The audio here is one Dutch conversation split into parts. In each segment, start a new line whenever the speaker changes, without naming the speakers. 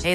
Hey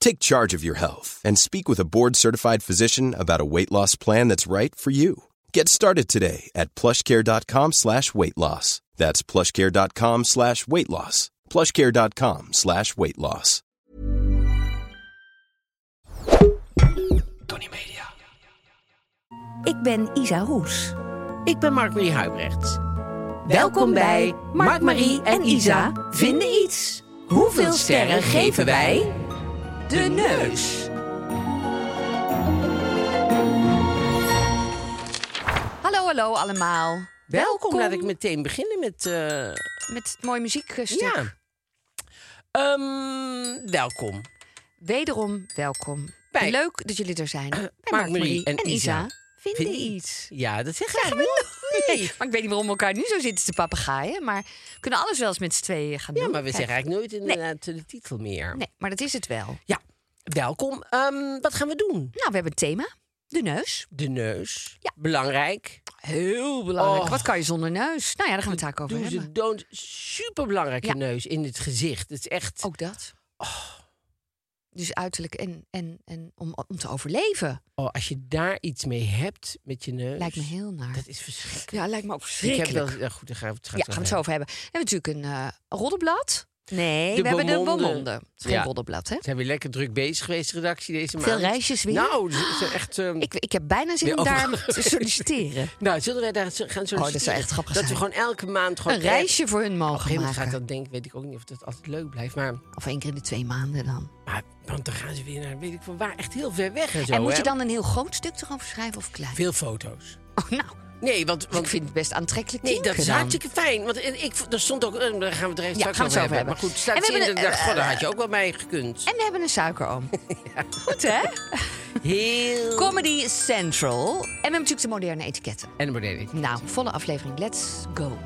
Take charge of your health and speak with a board-certified physician about a weight loss plan that's right for you. Get started today at plushcare.com slash weight loss. That's plushcare.com slash weight loss. plushcare.com slash weight loss.
Tony Media.
Ik ben Isa Roes.
Ik ben Mark-Marie Huibrecht.
Welkom bij Mark, Marie en Isa vinden iets. Hoeveel sterren geven wij? De neus.
Hallo, hallo allemaal.
Welkom. Laat ik meteen beginnen met... eh,
Met het mooie muziekstuk.
ja. Ehm, welkom.
Wederom welkom.
Bij-
Leuk dat jullie er zijn. Bij
Mark-Marie
Mark-Marie
en Isa.
vinden iets.
Ja, dat zeggen we eigenlijk
Nee,
nooit.
maar ik weet niet waarom we elkaar nu zo zitten te papegaaien. Maar we kunnen alles wel eens met z'n tweeën gaan
Ja,
doen.
maar we
Kijk.
zeggen eigenlijk nooit inderdaad eh, de titel meer.
Nee, maar dat is het wel.
Ja, welkom. Ehm, wat gaan we doen?
Nou, we hebben een thema. De neus.
De neus. Belangrijk.
Heel belangrijk.
Oh.
Wat kan je zonder neus? Nou ja, daar gaan we het vaak over
Doe
hebben.
ze don't. Superbelangrijk, je neus in het gezicht. Het is echt...
Ook dat.
Oh.
Dus uiterlijk en, en, en om, om te overleven.
Oh, als je daar iets mee hebt met je neus...
Lijkt me heel naar.
Dus Dat is verschrikkelijk.
Ja, lijkt me ook
Ik heb
verschrikkelijk.
wel... ja, goed, daar gaan we het straks
Ja, gaan we het zo over hebben. We hebben natuurlijk een eh roddelblad. Nee,
De
we hebben de
Beaumonde.
Beaumonde. Het is geen
Ja.
roddelblad, hè?
Ze zijn weer lekker druk bezig geweest, de redactie, deze maand.
Veel reisjes weer.
Nou, ze- ze zijn echt... ehm,
Ik, ik heb bijna zin
Weer
om daar
overal.
te solliciteren.
Nou, zullen wij daar zo- gaan zo
Oh, dat zou echt grappig
Dat we
zijn.
gewoon elke maand gewoon
Een reisje voor hun
Op een
mogen
gegeven moment Oh, gaat
maken.
dat denk ik, weet ik ook niet of dat altijd leuk blijft. Maar,
Of één keer in de twee maanden dan.
maar want dan gaan ze weer naar, weet ik van waar, echt heel ver weg en zo.
en moet
hè?
je dan een heel groot stuk erover schrijven of klein?
Veel foto's.
Oh, nou,
Nee, want...
ik
want
vind het best aantrekkelijk
Nee, dat
klinken
is
dan.
hartstikke fijn. Want eh, ik, vond- er stond ook... eh, Daar gaan we het er even
Ja,
straks
gaan we het
over
zo
hebben.
over
Maar
hebben.
goed, staat
En we
zien dat ik
hebben
dacht,
een- eh,
god, daar had je ook wel mee gekund.
En we hebben een suikeroom. Goed, hè?
Heel...
Comedy Central. En we hebben natuurlijk de moderne etiketten.
En dan ik.
Nou, volle aflevering. Let's go.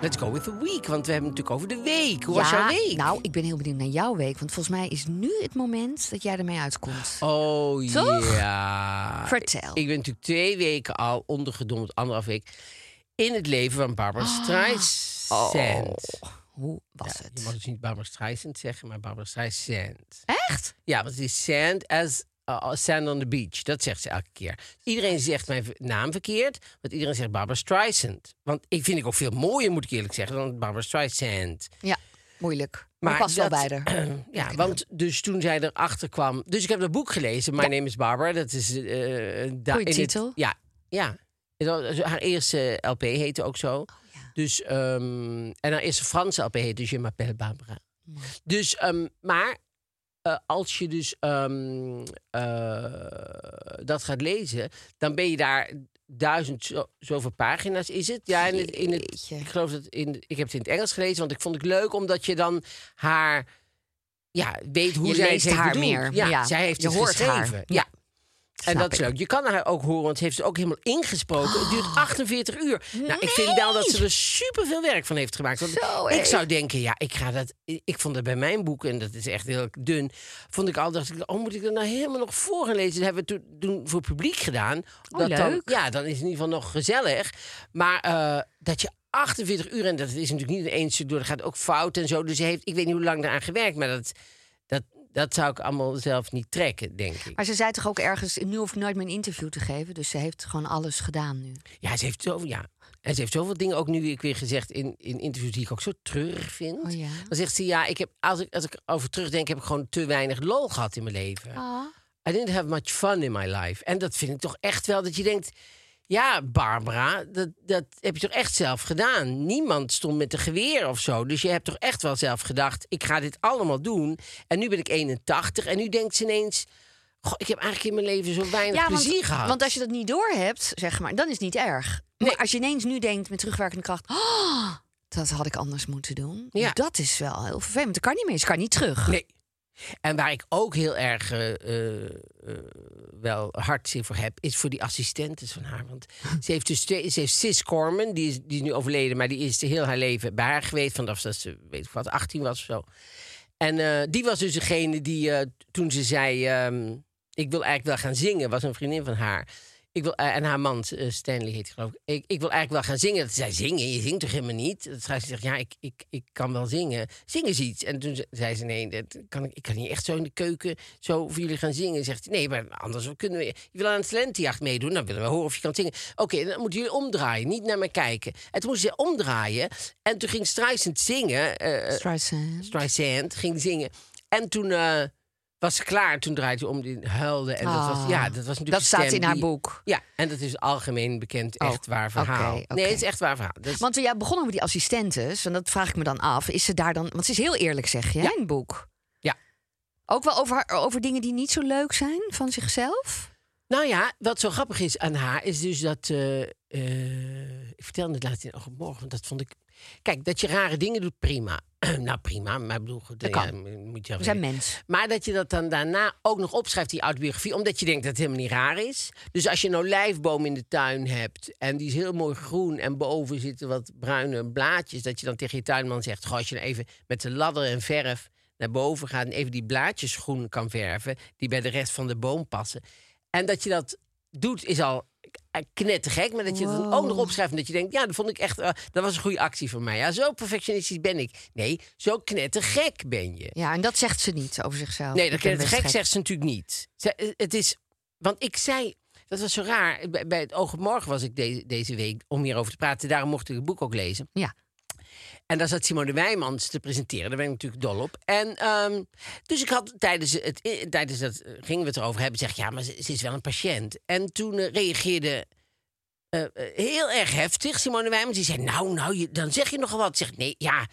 Let's go with the week, want we hebben het natuurlijk over de week. Hoe was
Ja,
jouw week?
Nou, ik ben heel benieuwd naar jouw week. Want volgens mij is nu het moment dat jij ermee uitkomt.
Oh
Toch?
ja.
Vertel.
Ik ben natuurlijk twee weken al ondergedompeld, anderhalf week, in het leven van Barbara
Ah. Oh,
Streisand.
Hoe was
Je
het?
mag dus niet Barbara Streisand zeggen, maar Barbara Streisand.
Echt?
Ja, want het is sand as uh, sand on the beach. Dat zegt ze elke keer. Iedereen zegt mijn v- naam verkeerd, want iedereen zegt Barbara Streisand. Want ik vind ik ook veel mooier, moet ik eerlijk zeggen, dan Barbara Streisand.
Ja, moeilijk. Maar, past wel bij haar.
Ja, want dus toen zij erachter kwam... Dus ik heb dat boek gelezen, My Name is Barbara. Dat is... eh, eh, da-
Goeie
in het-
titel.
ja, ja. Het was- Haar eerste LP heette ook zo.
Oh,
Dus, ehm, en haar eerste Franse LP heette Je m'appelle Barbara. Dus, ehm, maar eh, als je dus ehm, eh, dat gaat lezen, dan ben je daar duizend zo- zoveel pagina's is het. Ja, in het, in het,
Jeetje.
ik geloof dat in, ik heb het in het Engels gelezen, want ik vond het leuk omdat je dan haar, ja, weet hoe
Je
zij het
leest
heeft
haar
bedoeld.
meer.
Ja,
Ja,
zij heeft
je
het
hoort haar.
geschreven.
Ja,
Ja. En
snap
dat is
ik. Oh.
leuk. Je kan haar ook horen, want ze heeft het ook helemaal ingesproken. Het duurt 48 uur. Nou, ik vind wel dat ze er superveel werk van heeft gemaakt. Want
Zo,
ik
hé.
zou denken, ja, ik ga dat. Ik vond dat bij mijn boek, en dat is echt heel dun. Vond ik al, dacht ik, oh, moet ik dat nou helemaal nog voor gaan lezen? Dat hebben we toen, toen voor publiek gedaan. dat Dan,
Oh, leuk.
ja, dan is het in ieder geval nog gezellig. Maar eh, dat je 48 uur, en dat is natuurlijk niet in één stuk door, dat gaat ook fout en zo. Dus ze heeft, ik weet niet hoe lang daaraan gewerkt, maar dat, dat, dat zou ik allemaal zelf niet trekken, denk ik.
Maar ze zei toch ook ergens, nu hoef ik nooit meer een interview te geven. Dus ze heeft gewoon alles gedaan nu.
Ja, ze heeft zo, ja. En ze heeft zoveel dingen ook nu weer- weer gezegd in, in interviews die ik ook zo treurig vind.
Oh ja.
Dan zegt ze, ja, ik heb, als, ik, als ik over terugdenk, heb ik gewoon te weinig lol gehad in mijn leven.
Ah.
I didn't have much fun in my life. En dat vind ik toch echt wel dat je denkt... Ja, Barbara, dat, dat heb je toch echt zelf gedaan? Niemand stond met een geweer of zo. Dus je hebt toch echt wel zelf gedacht... ik ga dit allemaal doen. En nu ben ik 81 en nu denkt ze ineens... Goh, ik heb eigenlijk in mijn leven zo weinig
Ja,
plezier gehad.
want als je dat niet doorhebt, zeg maar, dan is het niet erg. Maar als je ineens nu denkt met terugwerkende kracht... "Ah, dat had ik anders moeten doen. Dus
Ja.
Dat is wel heel vervelend. Dat kan niet meer, ze kan niet terug.
Nee. En waar ik ook heel erg eh, eh, eh, wel hartzeer voor heb, is voor die assistentes van haar. Want ze heeft dus twee, ze heeft Sis Corman, die is, die is nu overleden, maar die is heel haar leven bij haar geweest, vanaf dat ze, weet ik wat, 18 was of zo. En eh, die was dus degene die eh, toen ze zei: ehm, Ik wil eigenlijk wel gaan zingen, was een vriendin van haar. Ik wil, eh, en haar man, eh, Stanley heet hij, geloof ik. ik. Ik wil eigenlijk wel gaan zingen. Dat zei: Zingen? Je zingt toch helemaal niet? Dat zei ze: zegt, Ja, ik, ik, ik kan wel zingen. Zing eens iets. En toen ze- zei ze: Nee, dat kan, ik- ik kan niet echt zo in de keuken zo voor jullie gaan zingen. Zegt ze: Nee, maar anders kunnen we. Je wil aan een talentjacht meedoen, dan willen we horen of je kan zingen. Oké, dan moeten jullie omdraaien, niet naar mij kijken. En toen moest ze omdraaien. En toen ging Streisand zingen. eh, eh,
Streisand.
Streisand ging zingen. En toen eh, was ze klaar. Toen draaide ze om, die huilde. En dat was,
Ah,
ja, dat was natuurlijk
dat
de
staat
stem
in haar
die-
boek.
Ja, en dat is algemeen bekend
Oh,
echt waar verhaal.
oké, oké.
Nee, het is echt waar verhaal. Dus,
Want we ja, begonnen over die assistentes. En dat vraag ik me dan af. Is ze daar dan... Want ze is heel eerlijk, zeg je, hè, in het boek.
Ja.
Ook wel over, haar- over dingen die niet zo leuk zijn van zichzelf?
nou ja, wat zo grappig is aan haar is dus dat... eh, eh, ik vertelde het laatst in oh, morgen, want dat vond ik... Kijk, dat je rare dingen doet, prima. nou, prima, maar ik bedoel... goed,
Dat
ja,
kan.
moet je wel weten.
We zijn mens.
Maar dat je dat dan daarna ook nog opschrijft, die autobiografie, omdat je denkt dat het helemaal niet raar is. Dus als je een olijfboom in de tuin hebt en die is heel mooi groen en boven zitten wat bruine blaadjes, dat je dan tegen je tuinman zegt: Goh, als je nou even met de ladder en verf naar boven gaat en even die blaadjes groen kan verven, die bij de rest van de boom passen. En dat je dat doet is al knettergek, maar dat je het dan ook nog opschrijft en dat je denkt, ja, dat vond ik echt, eh, dat was een goede actie van mij. Ja, zo perfectionistisch ben ik. Nee, zo knettergek ben je.
Ja, en dat zegt ze niet over zichzelf.
Nee,
Ik
dat
ben
kan het
best
gek zegt ze natuurlijk niet. Ze- eh, het is, want ik zei, dat was zo raar. Bij, bij het Oog op Morgen was ik de- deze week om hierover te praten. Daarom mocht ik het boek ook lezen.
Ja.
En daar zat Simone Wijmans te presenteren. Daar ben ik natuurlijk dol op. En, ehm, dus ik had tijdens, het, eh, tijdens dat eh, gingen we het erover hebben. Zeg, ja, maar ze, ze is wel een patiënt. En toen eh, reageerde eh, eh, heel erg heftig Simone Wijmans. Die zei, nou, nou, je, dan zeg je nogal wat. Zegt, nee, ja,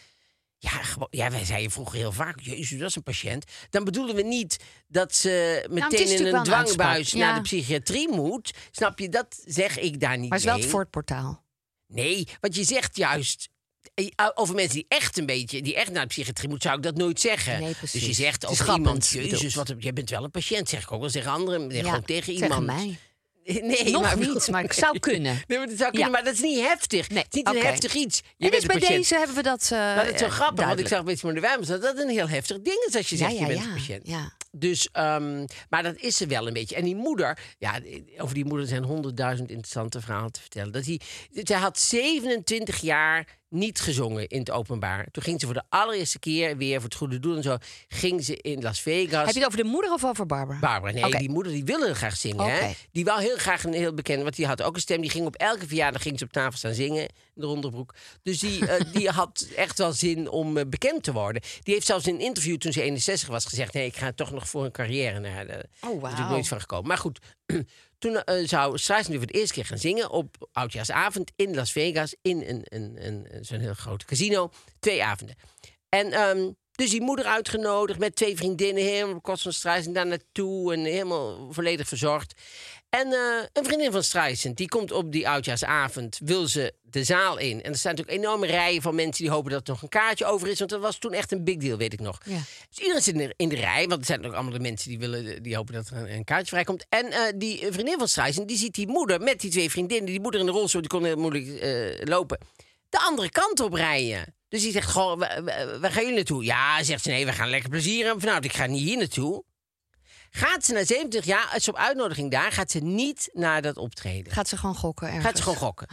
ja, gewoon- ja, wij zeiden vroeger heel vaak, jezus, dat is een patiënt. Dan bedoelen we niet dat ze
Nou, het is
meteen in
natuurlijk
een
wel een
dwangbuis
uitspraak,
naar
ja.
de psychiatrie moet. Snap je, dat zeg ik daar niet
Maar het is wel het
mee.
voortportaal.
Nee, want je zegt juist... eh, Over mensen die echt een beetje, die echt naar de psychiatrie moeten, zou ik dat nooit zeggen.
Nee, precies.
Dus je zegt
Het is
over iemand,
grappend,
jezus,
bedoeld.
wat, een- jij bent wel een patiënt, zeg ik ook wel tegen anderen, zeg
Ja,
ook tegen
tegen
iemand.
mij.
Nee,
Nog
maar-
niet, maar ik zou kunnen.
Nee, maar dat zou kunnen,
Ja.
maar dat is niet heftig.
Nee,
het is niet een
oké.
heftig iets. Je
en
bent
dus
een
bij
patiënt.
deze hebben we dat. eh,
Maar dat is zo
eh,
grappig, want ik
duidelijk.
zag bij Simone Wijmans dat dat een heel heftig ding is als je zegt je bent een patiënt.
Ja.
Dus, ehm, maar dat is ze wel een beetje. En die moeder, ja, over die moeder zijn honderdduizend interessante verhalen te vertellen. Dat die, zij had 27 jaar niet gezongen in het openbaar. Toen ging ze voor de allereerste keer weer voor het goede doel en zo, ging ze in Las Vegas.
Heb je het over de moeder of over Barbara?
Barbara, nee,
Oké.
die moeder die wilde graag zingen. Hè?
Oké.
Die wou heel graag een heel bekende, want die had ook een stem. Die ging op elke verjaardag ging ze op tafel staan zingen in de onderbroek. Dus die, eh, die had echt wel zin om eh, bekend te worden. Die heeft zelfs in een interview toen ze 61 was gezegd: nee, ik ga toch nog voor een carrière naar. De,
Oh, wauw.
Daar is natuurlijk nooit van gekomen. Maar goed, toen eh, zou Streisand nu voor de eerste keer gaan zingen op oudjaarsavond in Las Vegas in een, een, een, een- zo'n heel groot casino. Twee avonden. En ehm, dus die moeder uitgenodigd met twee vriendinnen, helemaal op kost van Streisand daar naartoe en helemaal volledig verzorgd. En eh, een vriendin van Streisand, die komt op die oudjaarsavond, wil ze de zaal in. En er staan natuurlijk enorme rijen van mensen die hopen dat er nog een kaartje over is, want dat was toen echt een big deal, weet ik nog.
Ja.
Dus iedereen zit in de, in de rij, want het zijn ook allemaal de mensen die, willen, die hopen dat er een, een kaartje vrijkomt. En eh, die vriendin van Streisand, die ziet die moeder met die twee vriendinnen, die moeder in de rolstoel, die kon heel moeilijk eh, lopen, de andere kant op rijden. Dus die zegt, goh, wa- wa- waar gaan jullie naartoe? Ja, zegt ze, nee, we gaan lekker plezier hebben vanavond, ik ga niet hier naartoe. Gaat ze na 70 jaar, als ze op uitnodiging daar, gaat ze niet naar dat optreden.
Gaat ze gewoon gokken? Ergens?
Gaat ze gewoon gokken.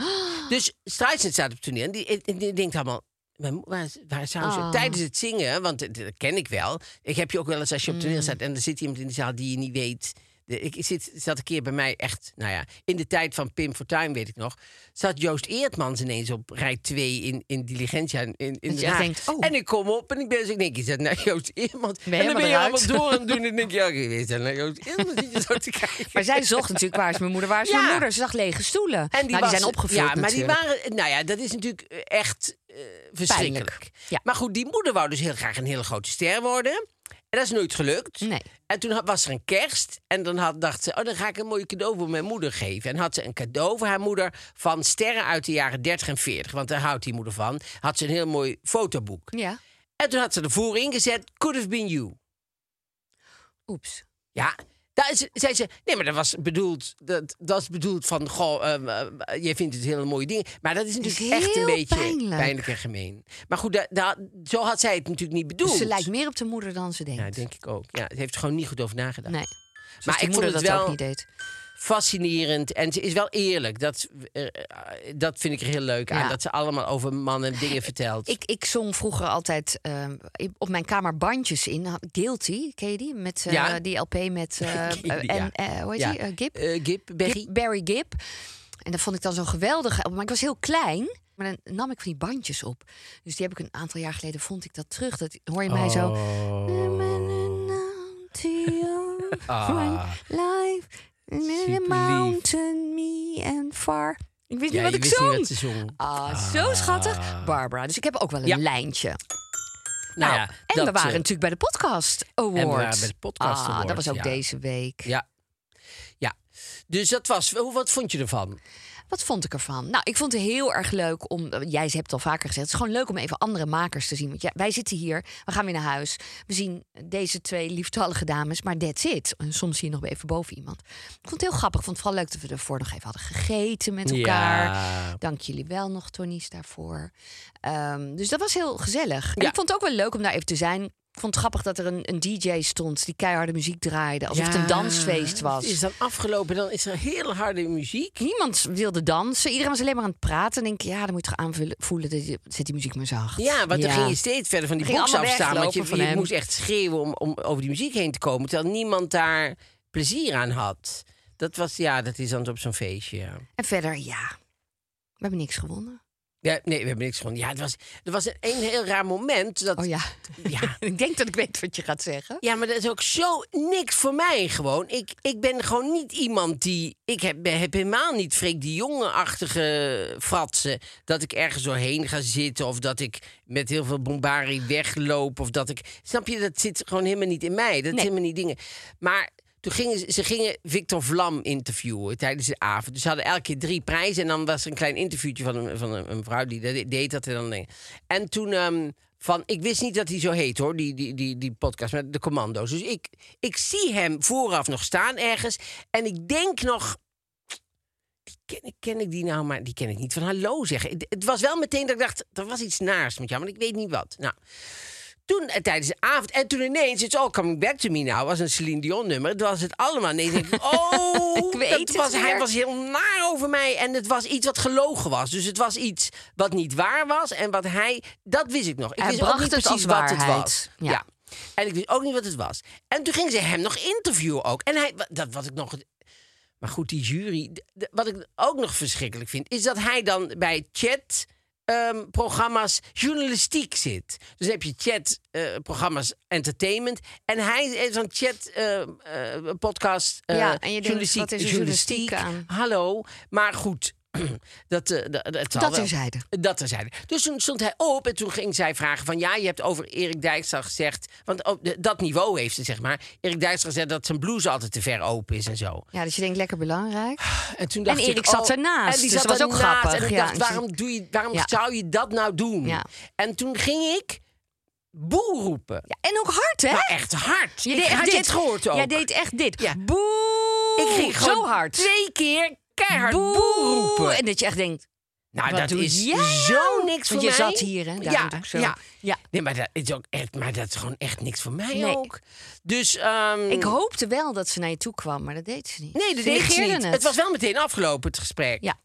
Dus Streisand staat op het toneel en die, en die denkt allemaal... "Waar mo- Waar, waar zou ze...
Ah.
Tijdens het
Mm.
zingen, want dat dat ken ik wel. Ik heb je ook wel eens als je op toneel staat... en er zit iemand in de zaal die je niet weet... de- ik zit, zat een keer bij mij echt, nou ja, in de tijd van Pim Fortuyn, weet ik nog, zat Joost Eertmans ineens op rij 2 in, in Diligentia in, in Den
je
Haag.
denkt, oh.
En ik kom op en ik ben zo, ik denk, is dat nou Joost Eertmans?
Ben je
en dan ben je
helemaal
allemaal door aan het doen en denk je, ja, is dat nou Joost Eertmans? Zit je zo te kijken?
Maar zij zocht natuurlijk, waar is mijn moeder, waar is
Ja.
mijn moeder? Ze zag lege stoelen. En die, nou,
was-
die zijn opgevuld
Ja, maar
natuurlijk.
die waren, nou ja, dat is natuurlijk eh, echt eh, verschrikkelijk.
Ja.
Maar goed, die moeder wou dus heel graag een hele grote ster worden. En dat is nooit gelukt.
Nee.
En toen had- was er een kerst. En dan had, dacht ze, oh, dan ga ik een mooi cadeau voor mijn moeder geven. En had ze een cadeau voor haar moeder van sterren uit de jaren 30 en 40. Want daar houdt die moeder van. Had ze een heel mooi fotoboek.
Ja,
En toen had ze ervoor ingezet, could have been you.
oeps.
Ja. Daar is, zei ze, nee, maar dat was bedoeld, dat, dat is bedoeld van, goh, ehm, eh, jij vindt het hele mooie dingen. Maar dat is natuurlijk
is
echt een
heel
beetje
pijnlijk.
en gemeen. Maar goed, da, da- zo had zij het natuurlijk niet bedoeld.
Dus ze lijkt meer op de moeder dan ze denkt.
Ja, denk ik ook. Ja, ze heeft er gewoon niet goed over nagedacht.
Nee.
Maar
maar
ik
ik moeder
vond
dat
het wel-
ook niet deed.
Fascinerend. En ze is wel eerlijk. Dat, eh, eh, dat vind ik er heel leuk aan.
Ja.
Dat ze allemaal over mannen dingen vertelt.
Ik, ik zong vroeger altijd ehm, op mijn kamer bandjes in. Guilty, ken je die? Met, eh,
Ja.
Die LP met... eh,
Guilty,
eh, en,
ja.
eh, hoe heet
Ja.
die? Eh, Gib?
Eh, Gib, Berry.
Gib- Barry Gibb. En dat vond ik dan zo'n geweldige album. Maar ik was heel klein. Maar dan nam ik van die bandjes op. Dus die heb ik een aantal jaar geleden, vond ik dat terug. Dat hoor je mij zo...
Oh. Ah.
Life in the
Superlief.
mountain, me and far. Ik wist
Ja,
niet
je
wat ik
wist niet
zong.
wat ze zong. Nou
Ah, zo schattig. Barbara. Dus ik heb ook wel een
Ja.
lijntje.
Nou, ja,
en
dat,
we waren
eh,
natuurlijk bij de Podcast Award.
En we waren bij de Podcast
ah,
Award,
Dat was ook
ja.
deze week.
Ja. Ja. Dus dat was. hoe- Wat vond je ervan?
Wat vond ik ervan? Nou, ik vond het heel erg leuk om. eh, Jij hebt het al vaker gezegd. Het is gewoon leuk om even andere makers te zien. Want ja, wij zitten hier, we gaan weer naar huis. We zien deze twee lieftallige dames, maar that's it. En soms zie je nog even boven iemand. Ik vond het heel grappig. Ik vond het vooral leuk dat we ervoor nog even hadden gegeten met elkaar.
Ja.
Dank jullie wel nog, Tonnies, daarvoor. Ehm, dus dat was heel gezellig. En
Ja.
ik vond het ook wel leuk om daar even te zijn. Ik vond het grappig dat er een, een DJ stond die keiharde muziek draaide. Alsof het een dansfeest was.
Is dan afgelopen, dan is er hele harde muziek.
Niemand wilde dansen. Iedereen was alleen maar aan het praten. En ik denk, ja, dan moet je toch aanvoelen. Dat je, zet die muziek maar zacht.
Ja, want dan
Ja.
ging je steeds verder van die
Ging
box
allemaal
afstaan. Want je,
weglopen van
je
hem.
moest echt schreeuwen om, om over die muziek heen te komen. Terwijl niemand daar plezier aan had. Dat was, ja, dat is dan op zo'n feestje. Ja.
En verder, ja. We hebben niks gewonnen.
Ja, nee, we hebben niks van. Ja, het was, er was een, een heel raar moment. Dat,
Oh ja.
ja.
ik denk dat ik weet wat je gaat zeggen.
Ja, maar dat is ook zo niks voor mij gewoon. Ik, ik ben gewoon niet iemand die... Ik heb, heb helemaal niet Freek de Jonge-achtige fratsen. Dat ik ergens doorheen ga zitten. Of dat ik met heel veel bombari wegloop. Of dat ik... Snap je, dat zit gewoon helemaal niet in mij. Dat
Nee.
is helemaal niet dingen. Maar toen gingen ze, ze gingen Victor Vlam interviewen tijdens de avond. Dus ze hadden elke keer drie prijzen. En dan was er een klein interviewtje van een, van een, een vrouw die dat deed. Dat en, dan een- en toen... ehm, van, ik wist niet dat hij zo heet hoor, die, die, die, die podcast met de commando's. Dus ik, ik zie hem vooraf nog staan ergens. En ik denk nog, ken, ik- ken ik die nou, maar die ken ik niet van hallo zeggen. Het, het was wel meteen dat ik dacht, er was iets naars met jou, maar ik weet niet wat. Nou, toen eh, tijdens de avond, en toen ineens, it's all coming back to me now, was een Celine Dion nummer. Het was het allemaal. Nee, denk ik, oh,
Ik weet
dat
het
was, hij
weer.
was heel naar over mij en het was iets wat gelogen was. Dus het was iets wat niet waar was en wat hij, dat wist ik nog. Ik
Hij
wist ook
bracht
niet
het
precies
als
wat het
waarheid.
was.
Ja.
ja. En ik wist ook niet wat het was. En toen ging ze hem nog interviewen ook. En hij, wa- dat wat ik nog het maar goed, die jury. d- d- Wat ik ook nog verschrikkelijk vind, is dat hij dan bij chat. ehm, programma's journalistiek zit. Dus dan heb je chat, eh, programma's entertainment. En hij heeft zo'n chat, eh, eh, podcast, eh,
Ja, en je denkt,
journalistiek.
wat is er journalistiek aan?
Hallo, maar goed. dat, eh, dat, dat,
Dat
zal wel.
terzijde.
Dat terzijde. Dus toen stond hij op en toen ging zij vragen van... ja, je hebt over Erik Dijkstra gezegd... want op de- dat niveau heeft ze, zeg maar. Erik Dijkstra zegt dat zijn blouse altijd te ver open is en zo.
Ja, dat je denkt, lekker belangrijk.
En toen dacht
En
ik,
Erik zat
oh,
ernaast,
En die
dus
zat
dat was ook
ernaast.
grappig,
En ik
ja. dus-
dacht, waarom, doe je, waarom
Ja.
zou je dat nou doen?
Ja.
En toen ging ik boel roepen.
Ja, en ook hard, hè?
Maar Nou, echt hard.
Je
ik
deed echt
had
dit.
dit gehoord ook.
Jij deed echt dit.
Ja.
Boe!
ik ging gewoon
zo hard.
twee keer keihard boel, roepen.
En dat je echt denkt,
nou,
wat
dat
doe
is
jij
zo
nou?
niks voor
Want
mij.
je zat hier, hè? Daarom
Ja,
doe ik zo.
ja.
ja.
Nee, maar dat is ook echt, maar dat is gewoon echt niks voor mij
Nee.
ook. Dus ehm,
Ik hoopte wel dat ze naar je toe kwam, maar dat deed ze niet.
nee, dat
Ze
deed ik
negeerde
niet. Het. was wel meteen afgelopen het gesprek.
Ja.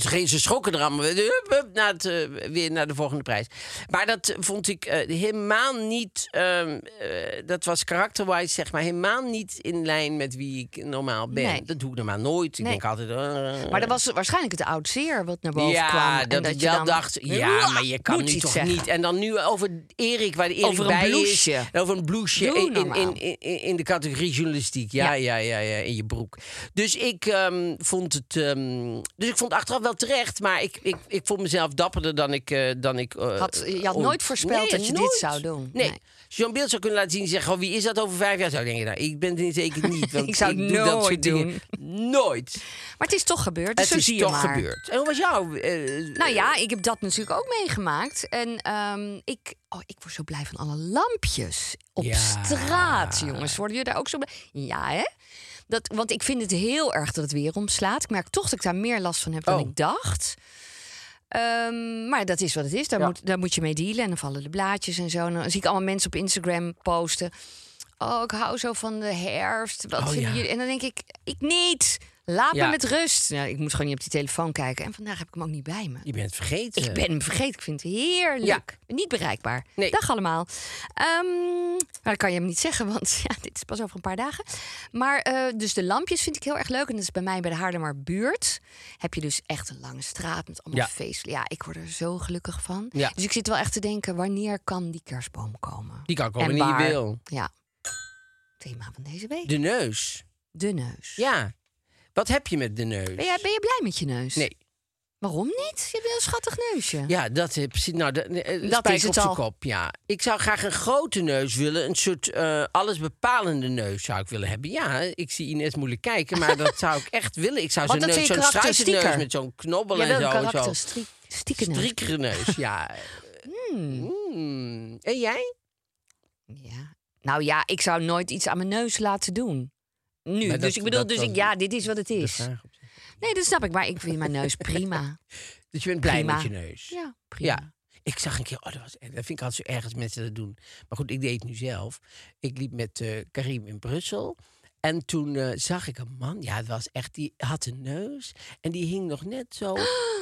Ze, gingen- ze schrokken er allemaal weer, hup, hup, naar het, eh, weer naar de volgende prijs. Maar dat vond ik eh, helemaal niet... ehm, eh, dat was karakterwise, zeg maar, helemaal niet in lijn met wie ik normaal ben.
Nee.
Dat doe ik normaal nooit. Ik
Nee.
denk altijd... eh,
Maar dat was waarschijnlijk het oud zeer wat naar boven
ja,
kwam. En
dat, ik
je
wel
dan-
dacht, ja, maar je kan
Moet
nu
iets
toch
zeggen.
niet. En dan nu over Erik, waar Erik
Over een
bij
blouseje.
is. en Over een blouseje
Doe
in, in,
normaal.
in, in, in de categorie journalistiek. Ja, ja, ja, ja, in je broek. Dus ik ehm, vond het... ehm, dus ik vond het achteraf wel terecht, maar ik, ik, ik vond mezelf dapperder dan ik... eh, dan ik eh,
Had- je had
ooit-
nooit voorspeld
Nee,
dat je dit
nooit.
zou doen.
Nee.
Nee.
Als je zo'n beeld zou kunnen laten zien en zeggen... oh, wie is dat over vijf jaar? Zou ik denken, nou, ik ben het niet, zeker niet. Want
Ik zou het
doe dat
nooit
soort dingen. Nooit.
Maar het is toch gebeurd, dus
het
zo
is
zie
toch
je maar.
gebeurd. En hoe was jouw... eh,
Nou ja, ik heb dat natuurlijk ook meegemaakt. En ehm, ik, oh, ik word zo blij van alle lampjes op
Ja.
straat, jongens. Worden jullie daar ook zo blij? Ja, hè? Dat, want ik vind het heel erg dat het weer omslaat. Ik merk toch dat ik daar meer last van heb dan
Oh.
ik dacht. Ehm, maar dat is wat het is. Daar,
Ja.
moet, daar moet je mee dealen. En dan vallen de blaadjes en zo. En dan zie ik allemaal mensen op Instagram posten. Oh, ik hou zo van de herfst. Wat
Oh,
vinden
ja.
jullie? En dan denk ik, ik niet. Laat
Ja.
me met rust. Nou, ik moet gewoon niet op die telefoon kijken. En vandaag heb ik hem ook niet bij me.
Je bent het vergeten.
Ik ben hem vergeten. Ik vind het heerlijk.
Ja.
Ik ben Niet bereikbaar.
Nee.
Dag allemaal. Ehm, maar dat kan je hem niet zeggen, want ja, dit is pas over een paar dagen. Maar eh, dus de lampjes vind ik heel erg leuk. En dat is bij mij bij de Haarlemmer buurt. Heb je dus echt een lange straat met allemaal
Ja.
feesten. Ja, ik word er zo gelukkig van.
Ja.
Dus ik zit wel echt te denken, wanneer kan die kerstboom komen?
Die kan komen
en
wanneer je
waar?
wil.
Ja. Thema van deze week. De,
De neus.
neus.
Ja. Wat heb je met de neus?
Ben, jij, ben je blij met je neus?
Nee.
Waarom niet? Je hebt een heel schattig neusje.
Ja, dat heb precies. Nou, dat, eh,
Dat
spijker
is het
op zijn
al.
kop. Ja. Ik zou graag een grote neus willen. Een soort eh, allesbepalende neus zou ik willen hebben. Ja, ik zie Ines moeilijk kijken, maar dat zou ik echt willen. Ik zou
Want
zo'n
dat vind
neus,
je
zo'n struisneus
karakteristieker.
met zo'n knobbel
Jij
en
wil
zo.
een
en zo.
karakteristieke neus. Hmm.
Striekere neus, ja. Mm. En jij?
Ja. Nou ja, ik zou nooit iets aan mijn neus laten doen. Nu.
Maar
dus
dat-
ik bedoel,
dat
dus
was
ik, ja, dit is wat het
de
is.
vraag op zich.
Nee, dat snap ik. Maar ik vind mijn neus prima.
Dus je bent blij
Prima.
met je neus?
Ja, prima.
Ja. Ik zag een keer, oh, dat, was, dat vind ik altijd zo erg als mensen dat doen. Maar goed, ik deed het nu zelf. Ik liep met eh, Karim in Brussel. En toen eh, zag ik een man, ja, het was echt, die had een neus. En die hing nog net zo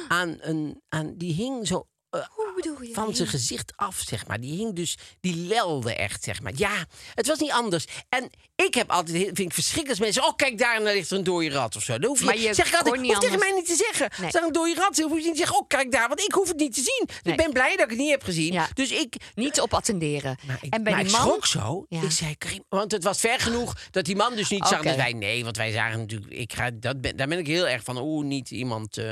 aan een, aan, die hing zo eh,
Hoe bedoel je?
van zijn gezicht af, zeg maar. Die hing dus, die lelde echt, zeg maar. Ja, het was niet anders. En ik heb altijd, heel- vind ik verschrikkelijk als mensen... oh, kijk, daar daar ligt er een dode rat of zo. Dat hoef je,
Maar je
zeg ik altijd,
kon niet
hoef tegen
anders.
mij niet te zeggen.
Nee.
Als daar een dode rat is, hoef je niet te zeggen... oh, kijk daar, want ik hoef het niet te zien. Dus
Nee.
ik ben blij dat ik het niet heb gezien.
Ja.
Dus ik...
Niet op attenderen.
Maar ik,
en bij
maar
die
ik
man...
schrok zo.
Ja.
Ik zei, Karim, want het was ver genoeg dat die man dus niet zag
Oké.
dat wij... Nee, want wij zagen natuurlijk... Ik ga, dat ben, daar ben ik heel erg van. Oeh, niet iemand... eh.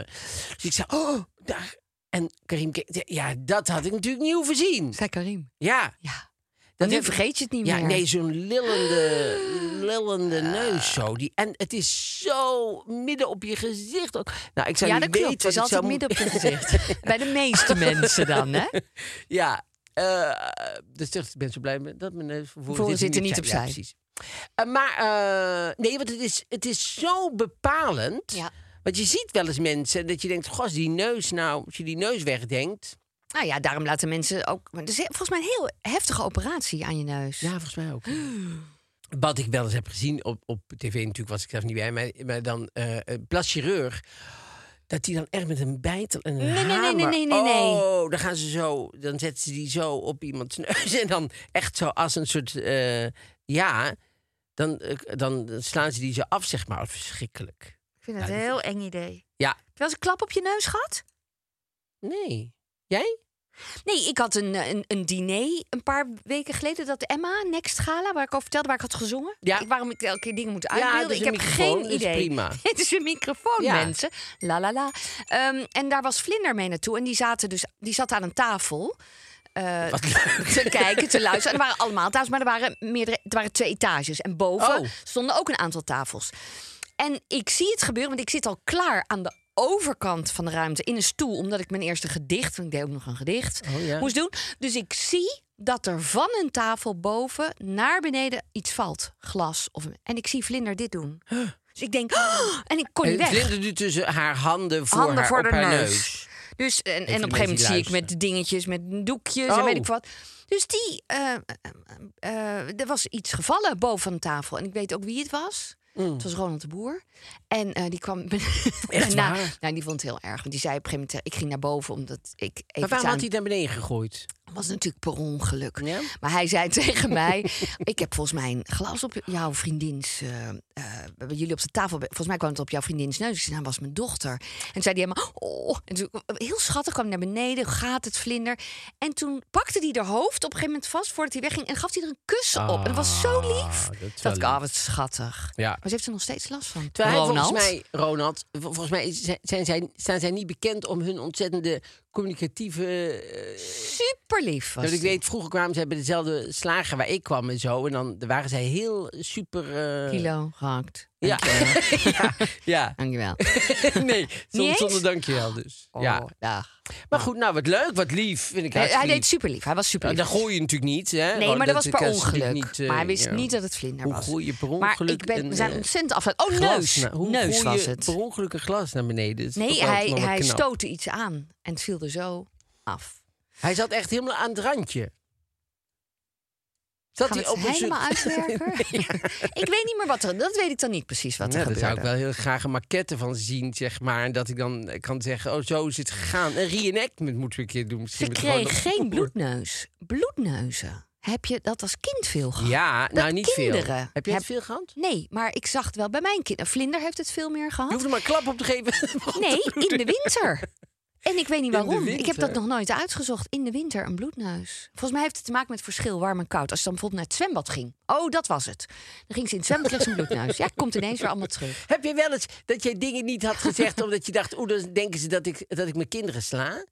Dus ik zei, oh, daar... En Karim, keek- ja, dat had ik natuurlijk niet hoeven zien.
Zei Karim.
Ja.
Ja.
Dat
nu
heb-
vergeet je het niet
Ja,
meer. Ah.
nee, zo'n lillende, lillende neus zo. Die, en het is zo midden op je gezicht ook. Nou, ik zou
ja,
niet
dat klopt.
weten
Het is
wat ik
altijd
zou
midden op
moeten-
je gezicht. bij de meeste mensen dan, hè?
Ja, eh, dus toch, ik ben zo blij met dat mijn neus voor
Voor zit er niet
zijn. Ja,
opzij.
precies. Eh, maar eh, nee, want het is, het is zo bepalend.
Ja.
Want je ziet wel eens mensen dat je denkt, goh, als die neus nou, als je die neus wegdenkt.
Nou ja, daarom laten mensen ook... maar Er is volgens mij een heel heftige operatie aan je neus.
Ja, volgens mij ook. Wat ik wel eens heb gezien op, op tv, natuurlijk was ik zelf niet bij, maar, maar dan eh een plaschirurg. Dat die dan echt met een bijtel en een
Nee, nee, nee,
hamer...
nee, nee, nee, nee.
Oh, dan gaan ze zo... Dan zetten ze die zo op iemands neus. En dan echt zo als een soort... eh, ja, dan, eh, dan slaan ze die zo af, zeg maar. Verschrikkelijk.
Ik vind dat
Ja,
een
die-
heel eng idee.
Ja.
Heb je wel eens een klap op je neus gehad?
Nee. Jij?
Nee, ik had een, eh, een, een diner een paar weken geleden. Dat Emma, Next Gala, waar ik over vertelde, waar ik had gezongen.
Ja.
Ik, waarom ik elke keer dingen moet
Ja,
uitbeelden.
dat is
ik
een
heb
microfoon,
geen
dat is
idee.
prima.
Het is een microfoon,
Ja.
mensen. La la la. Ehm, en daar was Vlinder mee naartoe. En die, zaten dus, die zat aan een tafel. eh,
Wat leuk.
te kijken, te luisteren. En er waren allemaal tafels, maar er waren, meerdere, er waren twee etages. En boven
Oh.
stonden ook een aantal tafels. En ik zie het gebeuren, want ik zit al klaar aan de overkant van de ruimte in een stoel, omdat ik mijn eerste gedicht, want ik deed ook nog een gedicht,
Oh, ja.
moest doen. Dus ik zie dat er van een tafel boven naar beneden iets valt, glas of een- en ik zie Vlinder dit doen. Dus ik denk, "Oh," en ik kon niet
En
weg.
Vlinder nu tussen dus haar handen voor,
Handen
haar,
voor
op
de
haar
neus.
neus.
Dus, en, en op
de
een
mensen
gegeven moment
die
zie ik
luisteren.
met dingetjes, met doekjes en
Oh.
weet ik wat. Dus die, eh, eh, eh, eh, er was iets gevallen boven aan tafel. En ik weet ook wie het was.
Mm.
Het was Ronald de Boer. En eh, die kwam...
Echt
nou,
waar?
nou, die vond het heel erg. Want die zei op een gegeven moment... eh, Ik ging naar boven omdat ik even
Maar
iets
waarom
aan-
had hij het naar beneden gegooid?
was natuurlijk per ongeluk.
Ja?
Maar hij zei tegen mij: Ik heb volgens mij een glas op jouw vriendins. eh, eh, bij jullie op de tafel. Volgens mij kwam het op jouw vriendins neus. Ik zei: Nou, was mijn dochter. En toen zei hij helemaal: Oh. En toen, heel schattig kwam hij naar beneden. Gaat het vlinder. En toen pakte hij haar hoofd op een gegeven moment vast voordat hij wegging. En gaf hij er een kus op. En dat was zo lief.
Ah, dat is wel
dat ik, ah,
lief.
wat schattig.
Ja.
Maar ze heeft er nog steeds last van.
Terwijl hij
Ronald.
volgens mij, Ronald, vol- volgens mij is- zijn zij, staan zij niet bekend om hun ontzettende communicatieve. eh,
Super lief was.
want ik
die.
weet, vroeger kwamen zij bij dezelfde slager waar ik kwam en zo. En dan waren zij heel super. eh,
Kilo gehakt.
Ja. ja, ja.
Dankjewel.
nee, soms
eens?
zonder dankjewel dus. ja.
Oh, dag.
Maar goed, nou wat leuk, wat lief. Vind ik
Hij, hij
hartstikke
deed
lief.
super lief. Hij was super
Nou,
lief.
dat gooi je Oh, natuurlijk niet. Hè?
Nee,
Want
maar dat was per
kan ze natuurlijk
ongeluk.
eh,
maar hij wist
ja.
niet dat het vlinder
Hoe
was.
gooi je per
maar
ongeluk
ik ben, we
een,
zijn
eh,
ontzettend afgeleid. Oh,
glas
neus.
na- Hoe
neus
gooi
was
je
het.
per ongeluk een glas naar beneden? Dat is toch
Nee,
wel-
hij,
nog wel
hij
knap.
stootte iets aan en het viel er zo af.
Hij zat echt helemaal aan het randje. Zat
Gaan we
hij op
het
een
helemaal uitwerken? ik weet niet meer wat er... Dat weet ik dan niet precies wat er
Nou, daar zou ik
gebeurde.
wel heel graag een maquette van zien, zeg maar. En dat ik dan eh, kan zeggen, oh, zo is het gegaan. Een reenactment moeten we een keer doen. Misschien
Ze
met gewoon
kreeg
een-
geen bloedneus. Bloedneuzen. Heb je dat als kind veel gehad?
Ja, nou niet veel.
kinderen
Heb je het
heb-
veel gehad?
Nee, maar ik zag het wel bij mijn kind. Een vlinder heeft het veel meer
Je
gehad.
hoeft er maar een klap op te geven.
Nee, in de winter. En ik weet niet
de
waarom. Ik heb dat
winter?
nog nooit uitgezocht. In de winter een bloedneus. Volgens mij heeft het te maken met verschil warm en koud. Als ze dan bijvoorbeeld naar het zwembad ging. Oh, dat was het. Dan ging ze in het zwembad kreeg ze een bloedneus. Ja, komt ineens weer allemaal terug.
Heb je wel eens dat jij dingen niet had gezegd omdat je dacht, oeh, dan denken ze dat ik, dat ik mijn kinderen sla?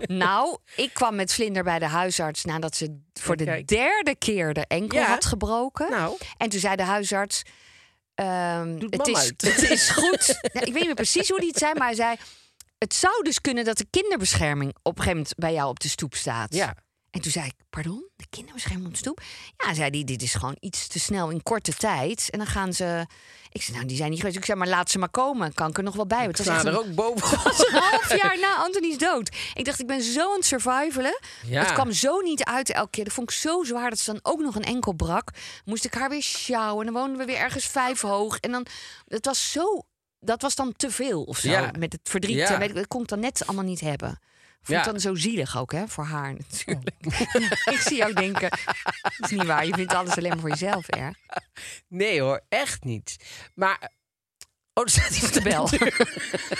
Nou, ik kwam met Vlinder bij de huisarts nadat ze voor de
Kijk.
derde keer de enkel
Ja.
had gebroken.
Nou.
En toen zei de huisarts. ehm,
Doet
het,
mama
is,
het.
het is goed. Nou, ik weet niet meer precies hoe die het zei, maar hij zei. Het zou dus kunnen dat de kinderbescherming op een gegeven moment bij jou op de stoep staat.
Ja.
En toen zei ik, pardon, de kinderbescherming op de stoep? Ja, zei die, dit is gewoon iets te snel in korte tijd. En dan gaan ze... Ik zei, nou, die zijn niet geweest. Ik zei, maar laat ze maar komen. Kan ik er nog wel bij? Want
Ik
het was
sla
echt
er
een
ook boven.
half jaar na Anthony's dood. Ik dacht, ik ben zo aan het survivalen.
Ja.
Het kwam zo niet uit elke keer. Dat vond ik zo zwaar dat ze dan ook nog een enkel brak. Moest ik haar weer sjouwen. En dan woonden we weer ergens vijf hoog. En dan, het was zo... Dat was dan te veel of zo.
Ja.
Met het verdriet.
Ja.
En weet ik, dat kon ik dan net allemaal niet hebben. Vond
Ja.
ik dan zo zielig ook, hè? Voor haar natuurlijk. ik zie jou denken, dat is niet waar. Je vindt alles alleen maar voor jezelf erg.
Nee hoor, echt niet. Maar. Oh, er staat iemand aan de
Bel.
deur.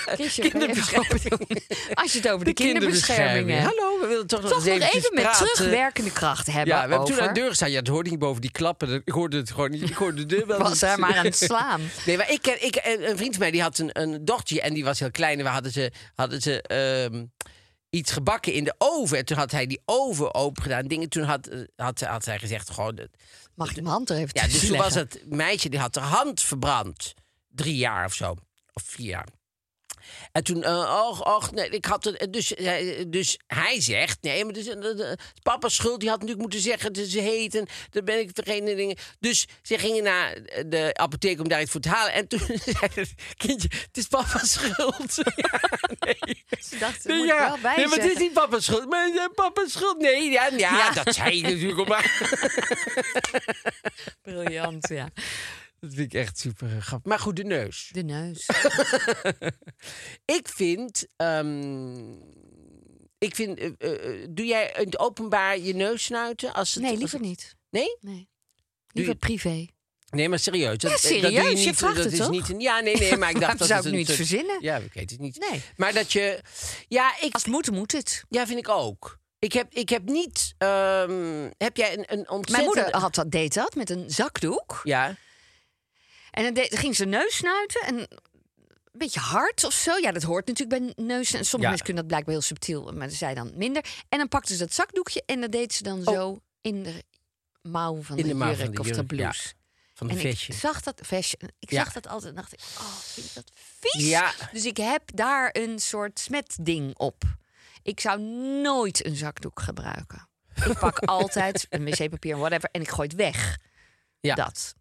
Christian, kan je even
Kinderbescherming.
Als je het over de, kinderbescherming hebt.
Hallo, we willen toch,
Toch
nog eens
nog
eventjes
even met
praten.
terugwerkende kracht
Ja,
hebben
we hebben
over...
toen aan de deur gestaan. Ja, dat hoorde niet boven die klappen. Ik hoorde het gewoon niet. Ik hoorde de deur wel
was
niet.
hij maar aan het slaan.
Nee, maar ik, ken- ik, een een vriend van mij die had een, een dochtertje en die was heel klein. En we hadden ze, hadden ze ehm, iets gebakken in de oven. En toen had hij die oven open gedaan. Dingen. Toen had, eh, had, ze- had zij gezegd: gewoon, dat-
Mag ik mijn hand er even
ja,
tussen
dus toen was
leggen?
het meisje die had haar hand verbrand. Drie jaar of zo. Of vier jaar. En toen, eh och, och, nee, ik had het. Dus, hij- dus hij zegt, nee, maar dus, eh, eh, eh, papa's schuld, die had natuurlijk moeten zeggen, het is heet en dan ben ik vergeten en dingen. Dus ze gingen naar de apotheek om daar iets voor te halen. En toen zei het kindje, het is papa's schuld. Ja, nee.
Ze dachten,
Nee,
moet ik
ja.
wel bij
nee, maar het is
zeggen.
niet papa's schuld. Maar het is papa's schuld. Nee, ja, ja, dat zei je natuurlijk ook maar.
Briljant, ja.
Dat vind ik echt super eh, grappig. Maar goed, de neus.
De neus.
Ik vind. ehm, ik vind eh, eh, eh, doe jij in het openbaar je neus snuiten? Als het,
Nee,
als
liever
het-
niet.
Nee?
Nee.
Doe
Liever
je-
privé.
Nee, maar serieus. Dat,
Ja,
eh, dat doe
serieus, je
niet, eh,
vraagt
dat
het
is
toch?
Niet een, ja, nee, nee, maar ik dacht
Waarom
dat
zou
het
ik
een
nu iets
soort-
verzinnen?
Ja, ik weet het niet.
Nee.
Maar dat je... Ja, ik,
Als het moet, moet het.
ja, vind ik ook. Ik heb, ik heb niet... ehm, heb jij een, een ontzettend...
Mijn moeder had dat, deed dat met een zakdoek.
Ja.
En dan, deed- dan ging ze neus snuiten en een beetje hard of zo. Ja, dat hoort natuurlijk bij neus. En sommige
Ja.
mensen kunnen dat blijkbaar heel subtiel, maar zij dan minder. En dan pakte ze dat zakdoekje en dat deed ze dan zo in de mouw van,
Oh. In
de,
de mouw
jurk
van de
of de
jurk, ja.
blouse.
Van de
En ik
vestje.
zag dat vestje. Ik
Ja.
zag dat altijd en dacht ik, oh, vind ik dat vies.
Ja.
Dus ik heb daar een soort smetding op. Ik zou nooit een zakdoek gebruiken. Ik pak altijd een wc-papier en whatever en ik gooi het weg.
Ja.
Dat.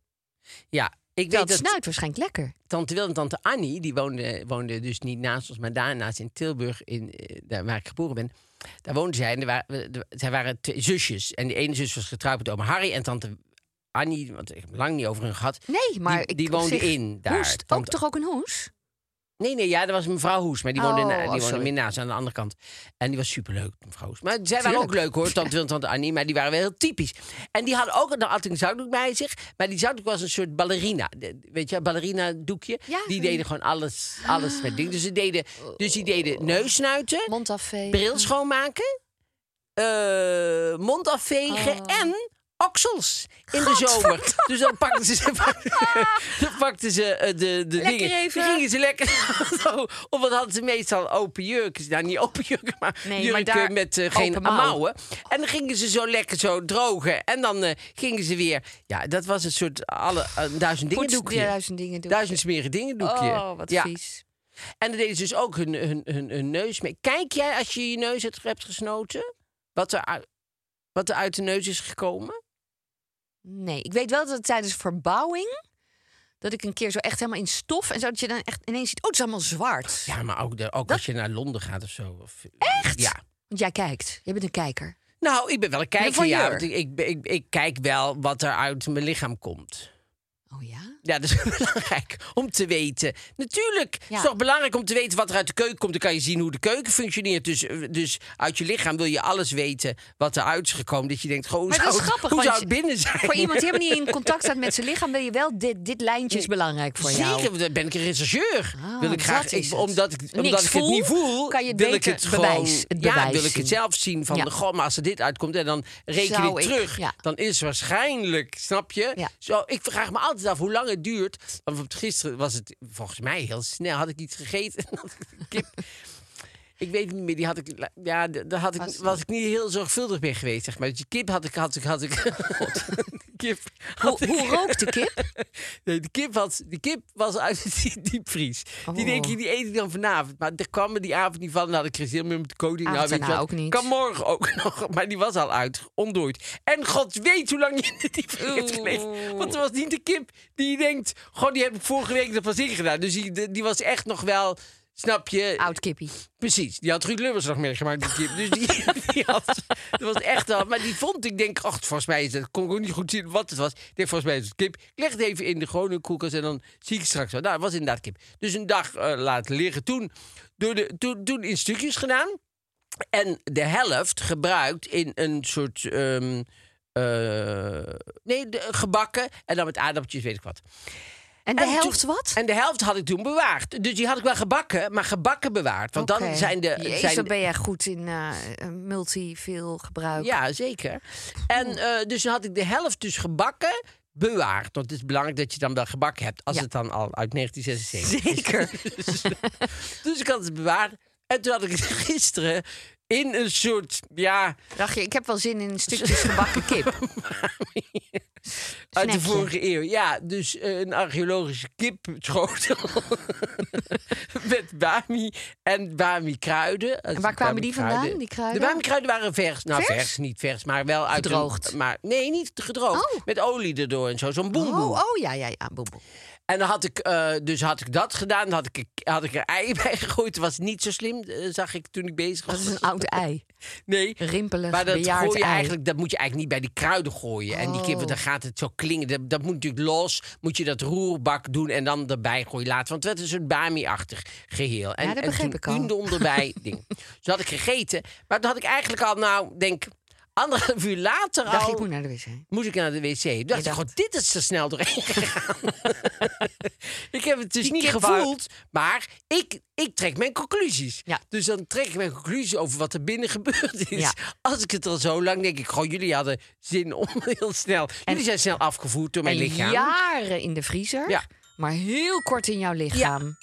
Ja. Ik
Dat,
weet dat
snuit waarschijnlijk lekker.
tante Wil en tante Annie, die woonden woonde dus niet naast ons, maar daarnaast in Tilburg, in, eh, daar waar ik geboren ben. Daar woonden zij en er wa- we- de- zij waren twee zusjes. En de ene zus was getrouwd met oom Harry en tante Annie, want ik heb het lang niet over hun gehad.
Nee, maar
die,
ik
die woonde
zeg,
in daar.
Hoest, ook
Tante-
toch ook een hoes?
Nee, nee, ja, dat was mevrouw Hoes, maar die woonde,
Oh,
na-
oh,
die woonde
sorry.
meer naast, aan de andere kant. En die was superleuk, mevrouw Hoes. Maar zij waren
Tuurlijk.
ook leuk hoor, tante Wil en tante Annie, maar die waren wel heel typisch. En die hadden ook, een- had een zoutdoek bij zich, maar die zoutdoek was een soort ballerina. De- Weet je, ballerina doekje.
Ja,
die
ja.
deden gewoon alles, alles met dingen. Dus, ze deden, dus die
Oh.
deden neusnuiten,
Mondafvee.
bril schoonmaken, eh, mond afvegen
Oh.
en oksels in de zomer. Dus dan pakten ze, dan pakten ze eh, de, de
Lekker
dingen.
even.
Dan gingen ze lekker. zo. of wat hadden ze meestal open jurken. Nou, niet open jurken, maar
Nee, maar
jurken
daar
met eh,
open
geen
mouw.
mouwen. En dan gingen ze zo lekker zo drogen. En dan eh, gingen ze weer. Ja, dat was een soort alle, eh, duizend dingen
Poets-
doekje.
duizend dingen doekje.
Duizend smerige dingen doekje.
Oh, wat
ja.
vies.
En dan deden ze dus ook hun, hun, hun, hun neus mee. Kijk jij als je je neus hebt, hebt gesnoten? Wat er, uit- wat er uit de neus is gekomen?
Nee, ik weet wel dat het tijdens verbouwing... dat ik een keer zo echt helemaal in stof... en zo dat je dan echt ineens ziet... oh, het is allemaal zwart.
Ja, maar ook, de, ook als je naar Londen gaat of zo. Of,
Echt?
Ja.
Want jij kijkt. Jij bent een kijker.
Nou, ik ben wel een kijker,
voyeur.
ja. Want ik, ik, ben- ik, ik kijk wel wat er uit mijn lichaam komt.
Oh ja?
Ja, dat is belangrijk om te weten. Natuurlijk, het
Ja.
is toch belangrijk om te weten wat er uit de keuken komt. Dan kan je zien hoe de keuken functioneert. Dus, eh, dus uit je lichaam wil je alles weten wat eruit is gekomen. Dat je denkt, goh, hoe,
Maar dat
zou,
is
het-
grappig,
hoe
want
zou
je-
het binnen zijn?
Voor iemand die helemaal niet in contact staat met zijn lichaam... wil je wel... dit, dit lijntje is belangrijk voor
Zeker,
jou.
want dan ben ik een rechercheur.
Ah,
wil ik graag,
dat is
ik-
het.
omdat ik,
Niks
omdat ik het
voel,
niet voel,
kan je
wil ik
beter
het
het
gewoon,
bewijs- het
ja,
bewijs
wil ik
zien.
het zelf zien van,
Ja.
de god, maar als er dit uitkomt en dan reken
Zou
ik
ik,
terug,
ja.
dan is waarschijnlijk, snap je?
Ja.
Zo, ik vraag me altijd af hoe lang het duurt. Want gisteren was het volgens mij heel snel. Had ik iets gegeten en had ik een kip. Ik weet het niet meer, die had ik, ja, d- daar had ik,
Was-
was ik niet heel zorgvuldig mee geweest, zeg maar. Dus die kip had ik, had ik, had ik, kip had
Hoe, hoe rookt de kip?
Nee, de kip, had, de kip was uit de die- diepvries. Die
Oh.
denk je, die eet ik dan vanavond. Maar daar kwam er die avond niet van. Dan had ik er zin meer met de koning.
Ah, dat
weet je
nou
wat,
ook niet.
Kan morgen ook nog. Maar die was al uit, ondooid. En god weet hoe lang je in de diepvries hebt gelegen. Want het was niet de kip die je denkt... Goh, die heb ik vorige week nog pas ingedaan. Dus die, de- die was echt nog wel... Snap je?
Oud kippie.
Precies. Die had Ruud Lubbers nog meegemaakt, die kip. Dus die, die had... Dat was echt al... Maar die vond ik, denk... Ach, volgens mij is het... Kon ik ook niet goed zien wat het was. Ik denk, volgens mij is het kip. Ik leg het even in de gewone koelkast en dan zie ik het straks wel. Nou, het was inderdaad kip. Dus een dag eh, laten liggen. Toen, door de, toen, toen in stukjes gedaan. En de helft gebruikt in een soort... ehm, eh, nee, de- gebakken. En dan met aardappeltjes, weet ik wat.
En de
En toen-
helft wat?
En de helft had ik toen bewaard. Dus die had ik wel gebakken, maar gebakken bewaard. Want
Oké.
dan zijn de...
Jezus,
zijn
dan ben jij goed in eh multi veel gebruik.
Ja, zeker. En eh, dus dan had ik de helft dus gebakken bewaard. Want het is belangrijk dat je dan wel gebakken hebt. Als
Ja.
het dan al uit 1976 is.
Zeker.
Dus ik had het bewaard. En toen had ik het gisteren in een soort... Ja,
Dacht je, ik heb wel zin in stukjes gebakken kip.
uit de
Snackje.
vorige eeuw. Ja, dus eh, een archeologische kipschotel. Met bami en bami kruiden.
En waar kwamen die vandaan, die kruiden?
De bami kruiden waren vers. Nou, vers,
Vers?
niet vers, maar wel uit een-
Gedroogd.
maar, nee, niet gedroogd.
Oh.
Met olie erdoor en zo. Zo'n boemboe.
Oh, oh ja, ja, ja, boem, boem.
En dan had ik, eh, dus had ik dat gedaan. Dan had ik, had ik er ei bij gegooid. Dat was niet zo slim, eh, zag ik toen ik bezig was.
Dat is een oud ei.
Nee.
Rimpelig,
Maar dat,
bejaard
gooi je
ei.
eigenlijk, dat moet je eigenlijk niet bij die kruiden gooien. En die kip, want dan
Oh.
gaat het zo klingen. Dat, dat moet natuurlijk los. Moet je dat roerbak doen en dan erbij gooien later. Want het werd een soort bami-achtig geheel. En,
Ja, dat
en
begreep
toen
ik al.
Undon erbij. ding. Dus dat had ik gegeten. Maar toen had ik eigenlijk al, nou, denk anderhalf uur later
Dacht
al...
ik moet naar de wc.
moest ik naar de wc. Toen dacht ik,
dacht-
god, dit is te snel doorheen gegaan. ik heb het dus
Die
niet
kip wou-
gevoeld, maar ik, ik trek mijn conclusies.
Ja.
Dus dan trek ik mijn conclusies over wat er binnen gebeurd is.
Ja.
Als ik het al zo lang denk, ik, goh, jullie hadden zin om heel snel. Jullie zijn snel afgevoerd door mijn
En
lichaam.
jaren in de vriezer,
Ja.
maar heel kort in jouw lichaam.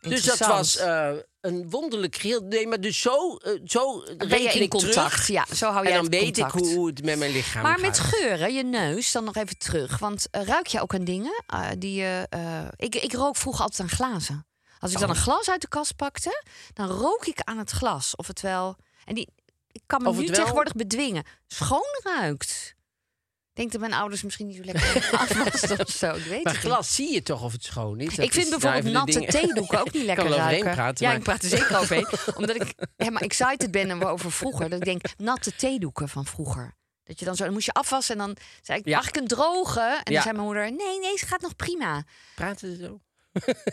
Dus dat
Interessant.
was eh, een wonderlijk geheel. Nee, maar dus zo, eh, zo
ben je
reken
in
ik terug.
contact. Ja, zo hou
en
jij
dan
het
weet
contact.
ik hoe, hoe het met mijn lichaam
Maar
gaat.
met geuren, je neus, dan nog even terug. Want eh, ruik je ook aan dingen eh, die je... eh, ik, ik rook vroeger altijd aan glazen. Als
Oh.
ik dan een glas uit de kast pakte, dan rook ik aan het glas. Of het wel... En die, ik kan me
Of het
nu
wel-
tegenwoordig bedwingen. Schoon ruikt. Ik denk dat mijn ouders misschien niet zo lekker afwassen of zo. Ik weet
Maar
het niet.
glas zie je toch of het schoon is? Dat
Ik vind
is nou
bijvoorbeeld
even de
natte
ding-
theedoeken ook niet
Ik
lekker
kan wel overheen
ruiken.
praten,
ja,
maar-
ik praat er zeker overheen. Omdat ik helemaal excited ben over vroeger. Dat ik denk, natte theedoeken van vroeger. Dat je dan zo, dan moest je afwassen en dan zei ik,
Ja.
mag ik een droge? En
Ja.
dan zei mijn moeder, nee, nee, ze gaat nog prima.
Praten ze zo?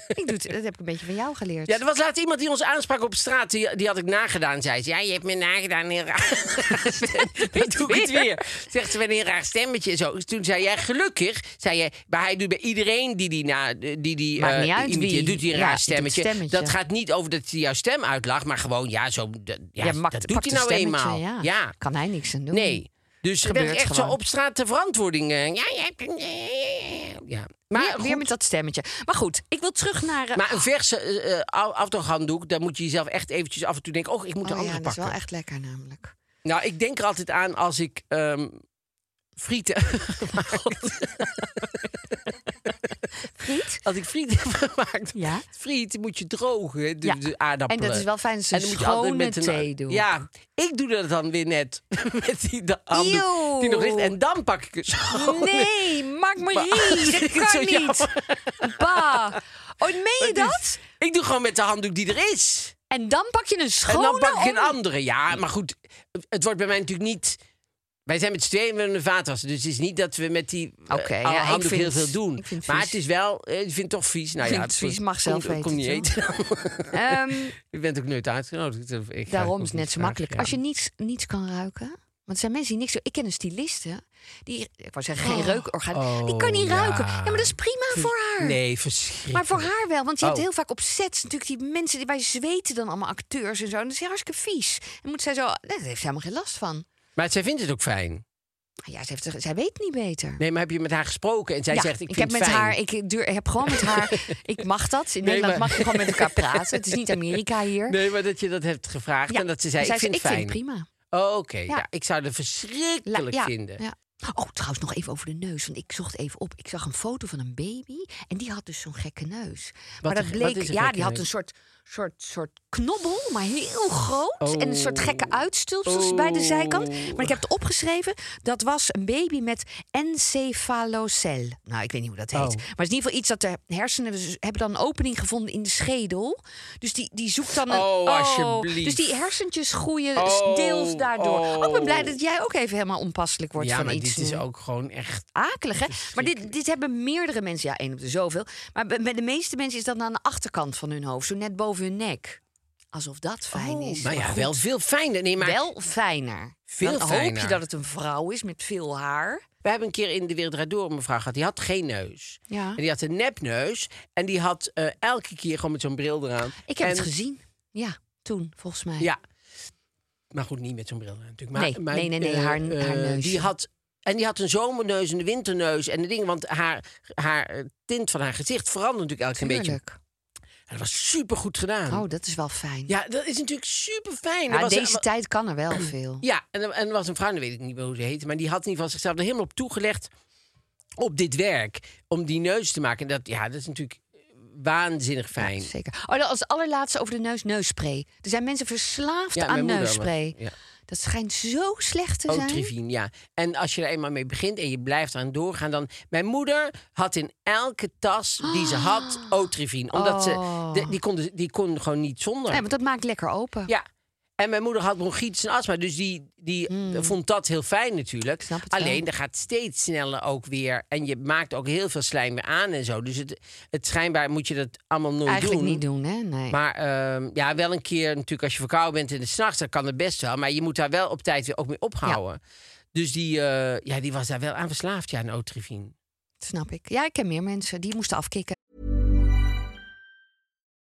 ik doe het, dat heb ik een beetje van jou geleerd.
Ja, er was laatst iemand die ons aansprak op straat. Die, die had ik nagedaan, zei ze. Ja, je hebt me nagedaan, heel raar. Dat doe ik het weer. Zegt ze met een heel raar stemmetje en zo. Dus toen zei jij, gelukkig, zei je, maar hij doet bij iedereen die die, na, die, die
Maakt
eh,
niet uit
imiteert,
wie.
doet hij een
Ja,
raar
doet
stemmetje.
stemmetje.
Dat gaat niet over dat hij jouw stem uitlacht, maar gewoon, ja, zo, dat, ja,
Ja, mak-
dat doet
pakt
hij
een
nou
stemmetje,
eenmaal.
Ja.
ja.
Kan hij niks aan doen.
Nee. Dus je
Gebeurt
bent echt
gewoon.
zo op straat de verantwoording. eh, ja, je hebt... eh, Ja. Maar,
Maar weer,
goed.
met dat stemmetje. Maar goed, ik wil terug naar... eh,
maar een verse eh, eh, af- afdaghanddoek, dan moet je jezelf echt eventjes af en toe denken... oh, ik moet
oh
de
ja,
andere
dat is
pakken.
wel echt lekker namelijk.
Nou, ik denk er altijd aan als ik ehm, frieten... Maar God,
Friet?
als ik frieten heb gemaakt...
Ja.
Friet moet je drogen, hè, de,
Ja.
de aardappelen.
En dat is wel fijn als ze
En dan moet je altijd
schone
met een-
thee doen.
Ja, ik doe dat dan weer net. met die da- handdoek die nog
Eeuw.
ligt. En dan pak ik het zo.
Nee, Mark Marie,
Maar-
dat
Ik vind het
kan
Oh, zo
niet. Bah. Oh, meen je dat?
Ik doe gewoon met de handdoek die er is.
En dan pak je een schone...
En dan pak ik een
om-
andere. Ja, maar goed, het wordt bij mij natuurlijk niet. Wij zijn met z'n tweeën met een vaatwasser. Dus het is niet dat we met die eh,
Oké, ja,
alle
ik
handdoek
vind-
heel veel doen.
ik vind het
maar
vies.
het is wel, eh, ik vind het toch vies. Nou
Ik
ja,
vind het vies, mag
kom-
zelf weten,
Kom niet eten.
Ehm,
Je bent ook nooit uitgenodigd. Ik ga ook
daarom is het
niet
net zo makkelijk.
vragen.
Als je niets, niets kan ruiken... Want er zijn mensen die niks doen. Ik ken een styliste. Die, ik wou zeggen, geen reukorgaan. die kan niet
Oh,
ruiken.
ja.
Ja, maar dat is prima voor haar.
Nee, verschrikkelijk.
Maar voor haar wel, want je hebt
Oh.
heel vaak op sets natuurlijk die mensen die bij zweten dan allemaal acteurs en zo. En dat is hartstikke vies. En moet zij zo, nee, daar heeft ze helemaal geen last van.
Maar zij vindt het ook fijn.
Ja, ze heeft, zij weet niet beter.
Nee, maar heb je met haar gesproken en zij
ja,
zegt: Ik,
heb
vind
met
het fijn.
haar, ik duur, heb gewoon met haar, ik mag dat. In Nederland
maar-
mag je gewoon met elkaar praten. Het is niet Amerika hier.
Nee, maar dat je dat hebt gevraagd
Ja,
en dat ze zei: Ik vind het fijn.
prima.
Oh, Oké, ja.
Ja.
ik zou het
La-
verschrikkelijk
ja,
vinden.
ja. Oh, trouwens nog even over de neus, want ik zocht even op. Ik zag een foto van een baby en die had dus zo'n gekke neus. maar dat
een-
bleek,
wat is een
ja,
gekke
die had
neus?
een soort, soort, soort knobbel, maar heel groot en een soort gekke
Oh.
uitstulpsels bij de zijkant.
Oh.
Maar ik heb het opgeschreven. Dat was een baby met encefalocel. Nou, ik weet niet hoe dat heet,
Oh.
maar het is in ieder geval iets dat de hersenen dus hebben dan een opening gevonden in de schedel. Dus die, die zoekt dan een.
Oh, alsjeblieft.
Dus die hersentjes groeien
Oh,
deels daardoor. Oh, ik ben blij
oh.
dat jij ook even helemaal onpasselijk wordt eh.
ja,
van
maar
iets.
dit is
nu.
ook gewoon echt
akelig, hè? Maar dit, dit hebben meerdere mensen. Ja, één op de zoveel. Maar bij bij de meeste mensen is dat aan de achterkant van hun hoofd, zo net boven hun nek. Alsof dat fijn is.
Nou ja,
goed,
wel veel fijner. Nee, maar
wel fijner.
Veel
dan hoop
fijner.
je dat het een vrouw is met veel haar.
we hebben een keer in de Wereld Draait Door een mevrouw gehad. Die had geen neus.
Ja.
En die had een nepneus. En die had eh, elke keer gewoon met zo'n bril eraan.
Ik heb
En-
het gezien. Ja, toen, volgens mij.
Ja. Maar goed, niet met zo'n bril eraan natuurlijk. Maar,
Nee,
maar,
nee, nee, nee,
eh,
haar-
eh,
haar neusje.
Die had, en die had een zomerneus en een winterneus en de dingen. Want haar, haar eh, tint van haar gezicht verandert natuurlijk elke keer een beetje.
Tuurlijk.
En dat was super goed gedaan.
Oh, dat is wel fijn.
Ja, dat is natuurlijk super fijn.
Ja, deze tijd kan er wel veel.
Ja, en, er- en er was een vrouw, dan weet ik niet meer hoe ze heette, maar die had in ieder geval zichzelf er helemaal op toegelegd op dit werk. Om die neus te maken. En dat, ja, dat is natuurlijk waanzinnig fijn.
Zeker. Oh, dan als allerlaatste over de neus neusspray. Er zijn mensen verslaafd
Ja,
aan
mijn moeder,
neusspray.
maar- ja. Oh,
Dat schijnt zo slecht te zijn.
Otrivin, ja. En als je er eenmaal mee begint en je blijft aan doorgaan, dan... Mijn moeder had in elke tas die ze had Otrivin. Omdat
Ah. Oh.
ze... de- die, kon, dus- die kon gewoon niet zonder.
Nee, want dat maakt lekker open.
Ja. En mijn moeder had bronchitis en astma, dus die, die vond dat heel fijn natuurlijk.
Hmm. snap het wel.
Alleen, dat gaat steeds sneller ook weer. En je maakt ook heel veel slijm weer aan en zo. Dus het, het schijnbaar moet je dat allemaal nooit
Eigenlijk
doen.
niet doen, hè? Nee.
Maar ehm, ja, wel een keer natuurlijk als je verkouden bent in de s'nachts, dan kan het best wel. Maar je moet daar wel op tijd weer ook mee ophouden. Dus die, eh, ja, die was daar wel aan verslaafd, ja, aan Otrivin.
Snap ik. Ja, ik ken meer mensen die moesten afkicken.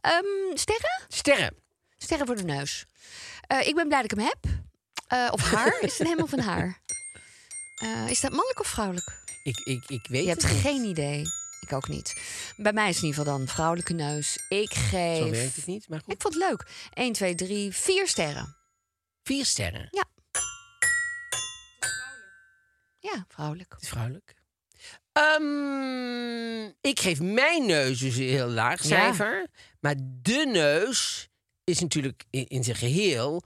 Ehm, sterren?
Sterren.
Sterren voor de neus. Eh, ik ben blij dat ik hem heb. Eh, of haar? is het helemaal van haar? Eh, is dat mannelijk of vrouwelijk?
Ik, ik, ik weet
Je hebt
het niet.
geen idee. Ik ook niet. Bij mij is het in ieder geval dan vrouwelijke neus. Ik geef...
Zo werkt het niet, maar goed.
Ik vond het leuk. 1, 2, 3, 4 sterren.
Vier sterren.
Ja. Ja, vrouwelijk.
Het is vrouwelijk. Ehm, ik geef mijn neus dus een heel laag
Ja.
cijfer. Maar de neus is natuurlijk in, in zijn geheel.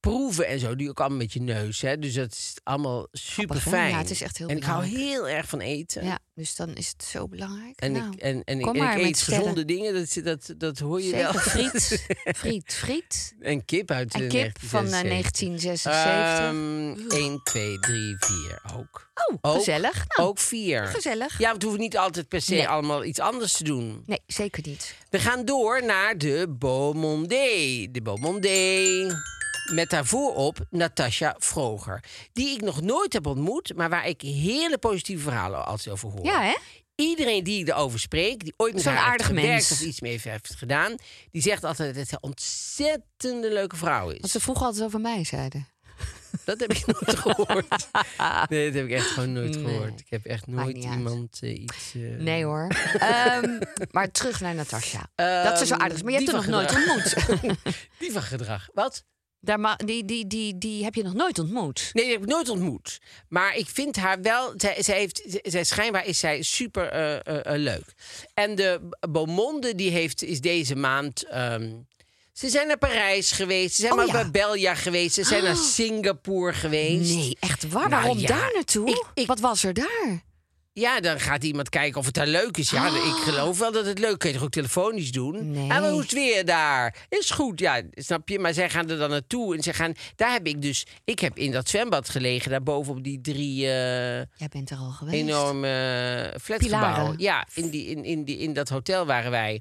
Proeven en zo, die ook allemaal met je neus. Hè? Dus dat is allemaal super
Grappig, hè?
fijn.
Ja, het is echt heel
En ik hou
belangrijk.
heel erg van eten.
Ja, dus dan is het zo belangrijk.
En,
Nou,
ik, en, en, ik,
kom
en ik
maar met
eet
stellen.
gezonde dingen, dat, dat, dat hoor je
Zeker
wel.
friet, friet, friet.
en kip uit
En
eh,
kip van eh,
1976.
1976.
1, 2, 3, 4 ook.
Oh,
Ehm, Ook-
gezellig. Nou,
ook 4.
gezellig.
Ja, want we hoeven niet altijd per se
Nee.
allemaal iets anders te doen.
Nee, zeker niet.
We gaan door naar de Beaumondé. De Beaumondé. Met daarvoor op Natasja Vroger. Die ik nog nooit heb ontmoet, maar waar ik hele positieve verhalen altijd over hoor.
Ja, hè?
Iedereen die ik erover spreek, die ooit met
Zo'n
haar heeft
aardig
gewerkt
mens.
of iets mee heeft- heeft gedaan, die zegt altijd dat ze een ontzettende leuke vrouw is.
Want ze vroegen altijd over mij, zeiden.
Dat heb ik nooit gehoord. Nee, dat heb ik echt gewoon nooit
Nee.
gehoord. Ik heb echt
Maakt
nooit
niet uit.
iemand eh, iets. eh,
Nee hoor. Ehm, maar terug naar Natasja. dat ze zo aardig is. Maar je hebt
Ehm, die
haar nog
van
nooit
gedrag.
ontmoet.
Die van gedrag. Wat?
Daar ma- die, die, die, die heb je nog nooit ontmoet.
Nee, die heb ik nooit ontmoet. Maar ik vind haar wel. Zij, zij heeft, zij- zij, schijnbaar is zij super eh, eh, eh, leuk. En de Beaumonde, die heeft, is deze maand. ehm, ze zijn naar Parijs geweest. Ze zijn
Oh,
naar
ja. Ah.
Marbella geweest. Ze zijn naar Singapore geweest.
Nee, echt waar?
Nou,
Waarom
ja,
daar naartoe?
ik- ik-
Wat was er daar?
Ja, dan gaat iemand kijken of het daar leuk is. Ja, ik geloof wel dat het leuk is. Kun je toch ook telefonisch doen?
Nee.
En hoe is het weer daar? Is goed, ja, snap je? Maar zij gaan er dan naartoe. En ze gaan... Daar heb ik dus... Ik heb in dat zwembad gelegen, daarboven op die drie... eh,
Jij bent er al geweest.
enorme eh, flatgebouw.
Pilaren. Oh.
Ja, in, die, in, in, die, in dat hotel waren wij.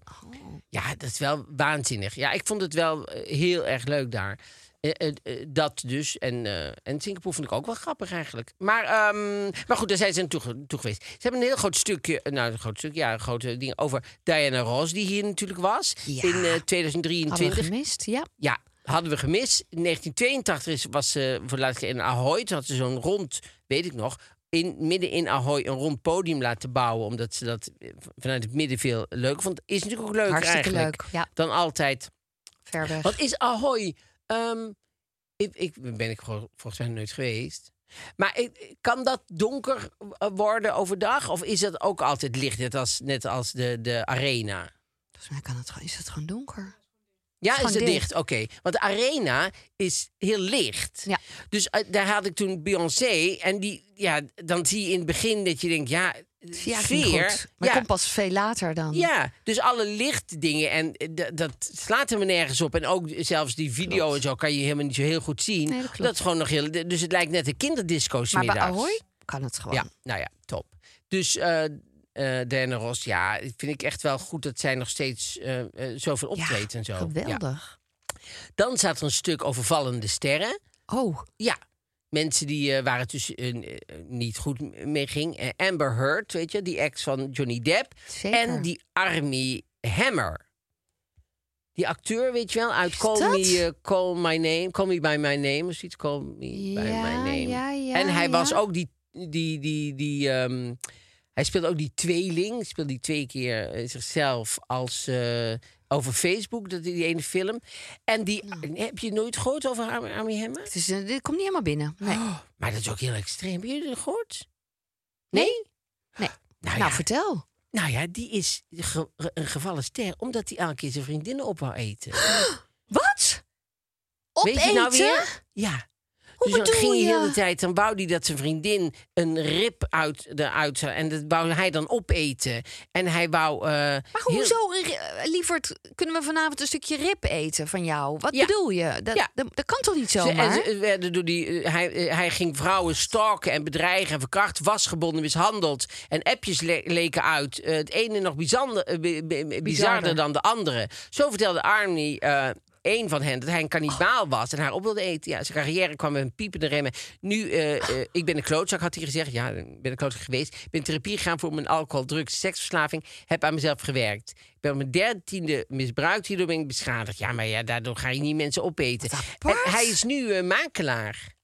Ja, dat is wel waanzinnig. Ja, ik vond het wel eh, heel erg leuk daar. Eh, eh, eh, dat dus. En, eh, en Singapore vond ik ook wel grappig eigenlijk. Maar, ehm, maar goed, daar zijn ze naartoe ge- toe geweest. Ze hebben een heel groot stukje, nou, een groot stukje, ja, een grote ding over Diana Ross, die hier natuurlijk was
Ja.
in eh,
Hadden we
2023.
gemist, ja.
Ja, hadden we gemist. In 1982 is- was ze voor de laatste keer in Ahoy. Toen had ze zo'n rond, weet ik nog, in, midden in Ahoy een rond podium laten bouwen. Omdat ze dat eh, vanuit het midden veel leuk vond. Is natuurlijk ook leuker
Hartstikke
eigenlijk
leuk. Ja,
dan altijd.
ver weg.
Wat is Ahoy? Ehm, ik, ik ben ik gewoon volgens mij nooit geweest. Maar ik- kan dat donker eh, worden overdag? Of is dat ook altijd licht, net als, net als de, de arena?
Volgens mij kan het, gewoon- is het gewoon donker.
Ja,
Gewoon
is het
dicht.
dicht? Oké. Want de arena is heel licht.
Ja.
Dus eh, daar had ik toen Beyoncé. En die, ja, dan zie je in het begin dat je denkt, ja,
Zie je eigenlijk niet
sfeer.
goed. Maar
ja,
komt pas veel later dan.
ja, dus alle lichtdingen. En eh, d- dat slaat er me nergens op. En ook zelfs die video en zo kan je helemaal niet zo heel goed zien.
Nee, dat klopt.
is gewoon nog heel. Dus het lijkt net een kinderdisco. 's
Maar bij
middags.
Ahoy kan het gewoon.
Ja, nou ja, top. Dus eh eh Diana Ross, ja, vind ik echt wel goed dat zij nog steeds eh eh, zoveel
Ja,
optreedt en zo. Ja.
Geweldig.
Dan staat er een stuk over vallende sterren.
Oh,
Ja, mensen die eh, waar het dus eh, eh, niet goed mee ging. Eh, Amber Heard, weet je, die ex van Johnny Depp.
Zeker.
En die Army Hammer. Die acteur, weet je wel, uit Call
dat?
Me, eh, Call My Name, Call Me By My Name of zoiets. Call Me By
Ja,
My Name.
ja, ja,
en hij
ja.
was ook die, die, die, die ehm, hij speelde ook die tweeling. Speelde die twee keer eh, zichzelf als eh, over Facebook, dat, die ene film. En die, heb je nooit gehoord over Army, Army Hammer?
het is, eh, dit komt niet helemaal binnen. Nee.
Oh, maar dat is ook heel extreem. Heb je dat gehoord?
Nee? Nee.
Nou,
nou,
ja,
vertel.
nou ja, die is ge- een gevallen ster omdat hij elke keer zijn vriendinnen op wou eten.
Wat? Opeten?
Weet je nou weer? Ja. dus dan
bedoel
ging hij
je?
heel de hele tijd, dan wou hij dat zijn vriendin een rib uit eruit zou. En dat wou hij dan opeten. En hij wou. eh,
Maar
heel-
hoezo, eh, lieverd, kunnen we vanavond een stukje rib eten van jou? Wat
Ja.
bedoel je? Dat,
Ja.
dat, dat kan toch niet
Ze- en
zomaar?
ze werden door die, eh, hij, eh, hij ging vrouwen stalken en bedreigen en verkracht, wasgebonden, mishandeld. En appjes le- leken uit. Eh, het ene nog bizander, eh, bi- bi- bizarder,
Bizarder.
dan de andere. Zo vertelde Arnie eh één van hen dat hij een kannibaal was en haar op wilde eten. Ja, zijn carrière kwam met een piepende remmen. Nu, eh, eh, ik ben een klootzak, had hij gezegd. Ja, ik ben een klootzak geweest. Ik ben in therapie gegaan voor mijn alcohol, drugs, seksverslaving. Heb aan mezelf gewerkt. Ik ben op mijn dertiende misbruikt, hierdoor ben ik beschadigd. Ja, maar ja, daardoor ga je niet mensen opeten.
Wat
En
apart.
hij is nu eh, makelaar.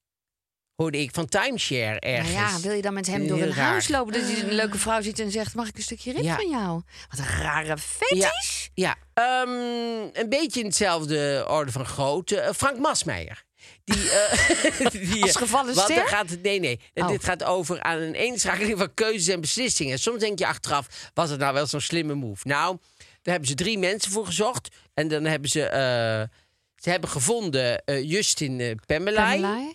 hoorde ik van timeshare ergens.
Nou ja, wil je dan met hem door
Heel
een
raar.
huis lopen dat je een leuke vrouw ziet en zegt: Mag ik een stukje rib
Ja.
van jou? Wat een rare fetish.
Ja, ehm, een beetje in hetzelfde orde van grootte. Eh, Frank Masmeijer. Die, eh, die, eh,
Als gevallen
want dan
ster?
gaat het, nee, nee. En
Oh.
Dit gaat over aan een eenschakeling van keuzes en beslissingen. Soms denk je achteraf, was het nou wel zo'n slimme move? Nou, daar hebben ze drie mensen voor gezocht. En dan hebben ze, eh, ze hebben gevonden eh, Justin eh Pemmelay,
Pamelaai?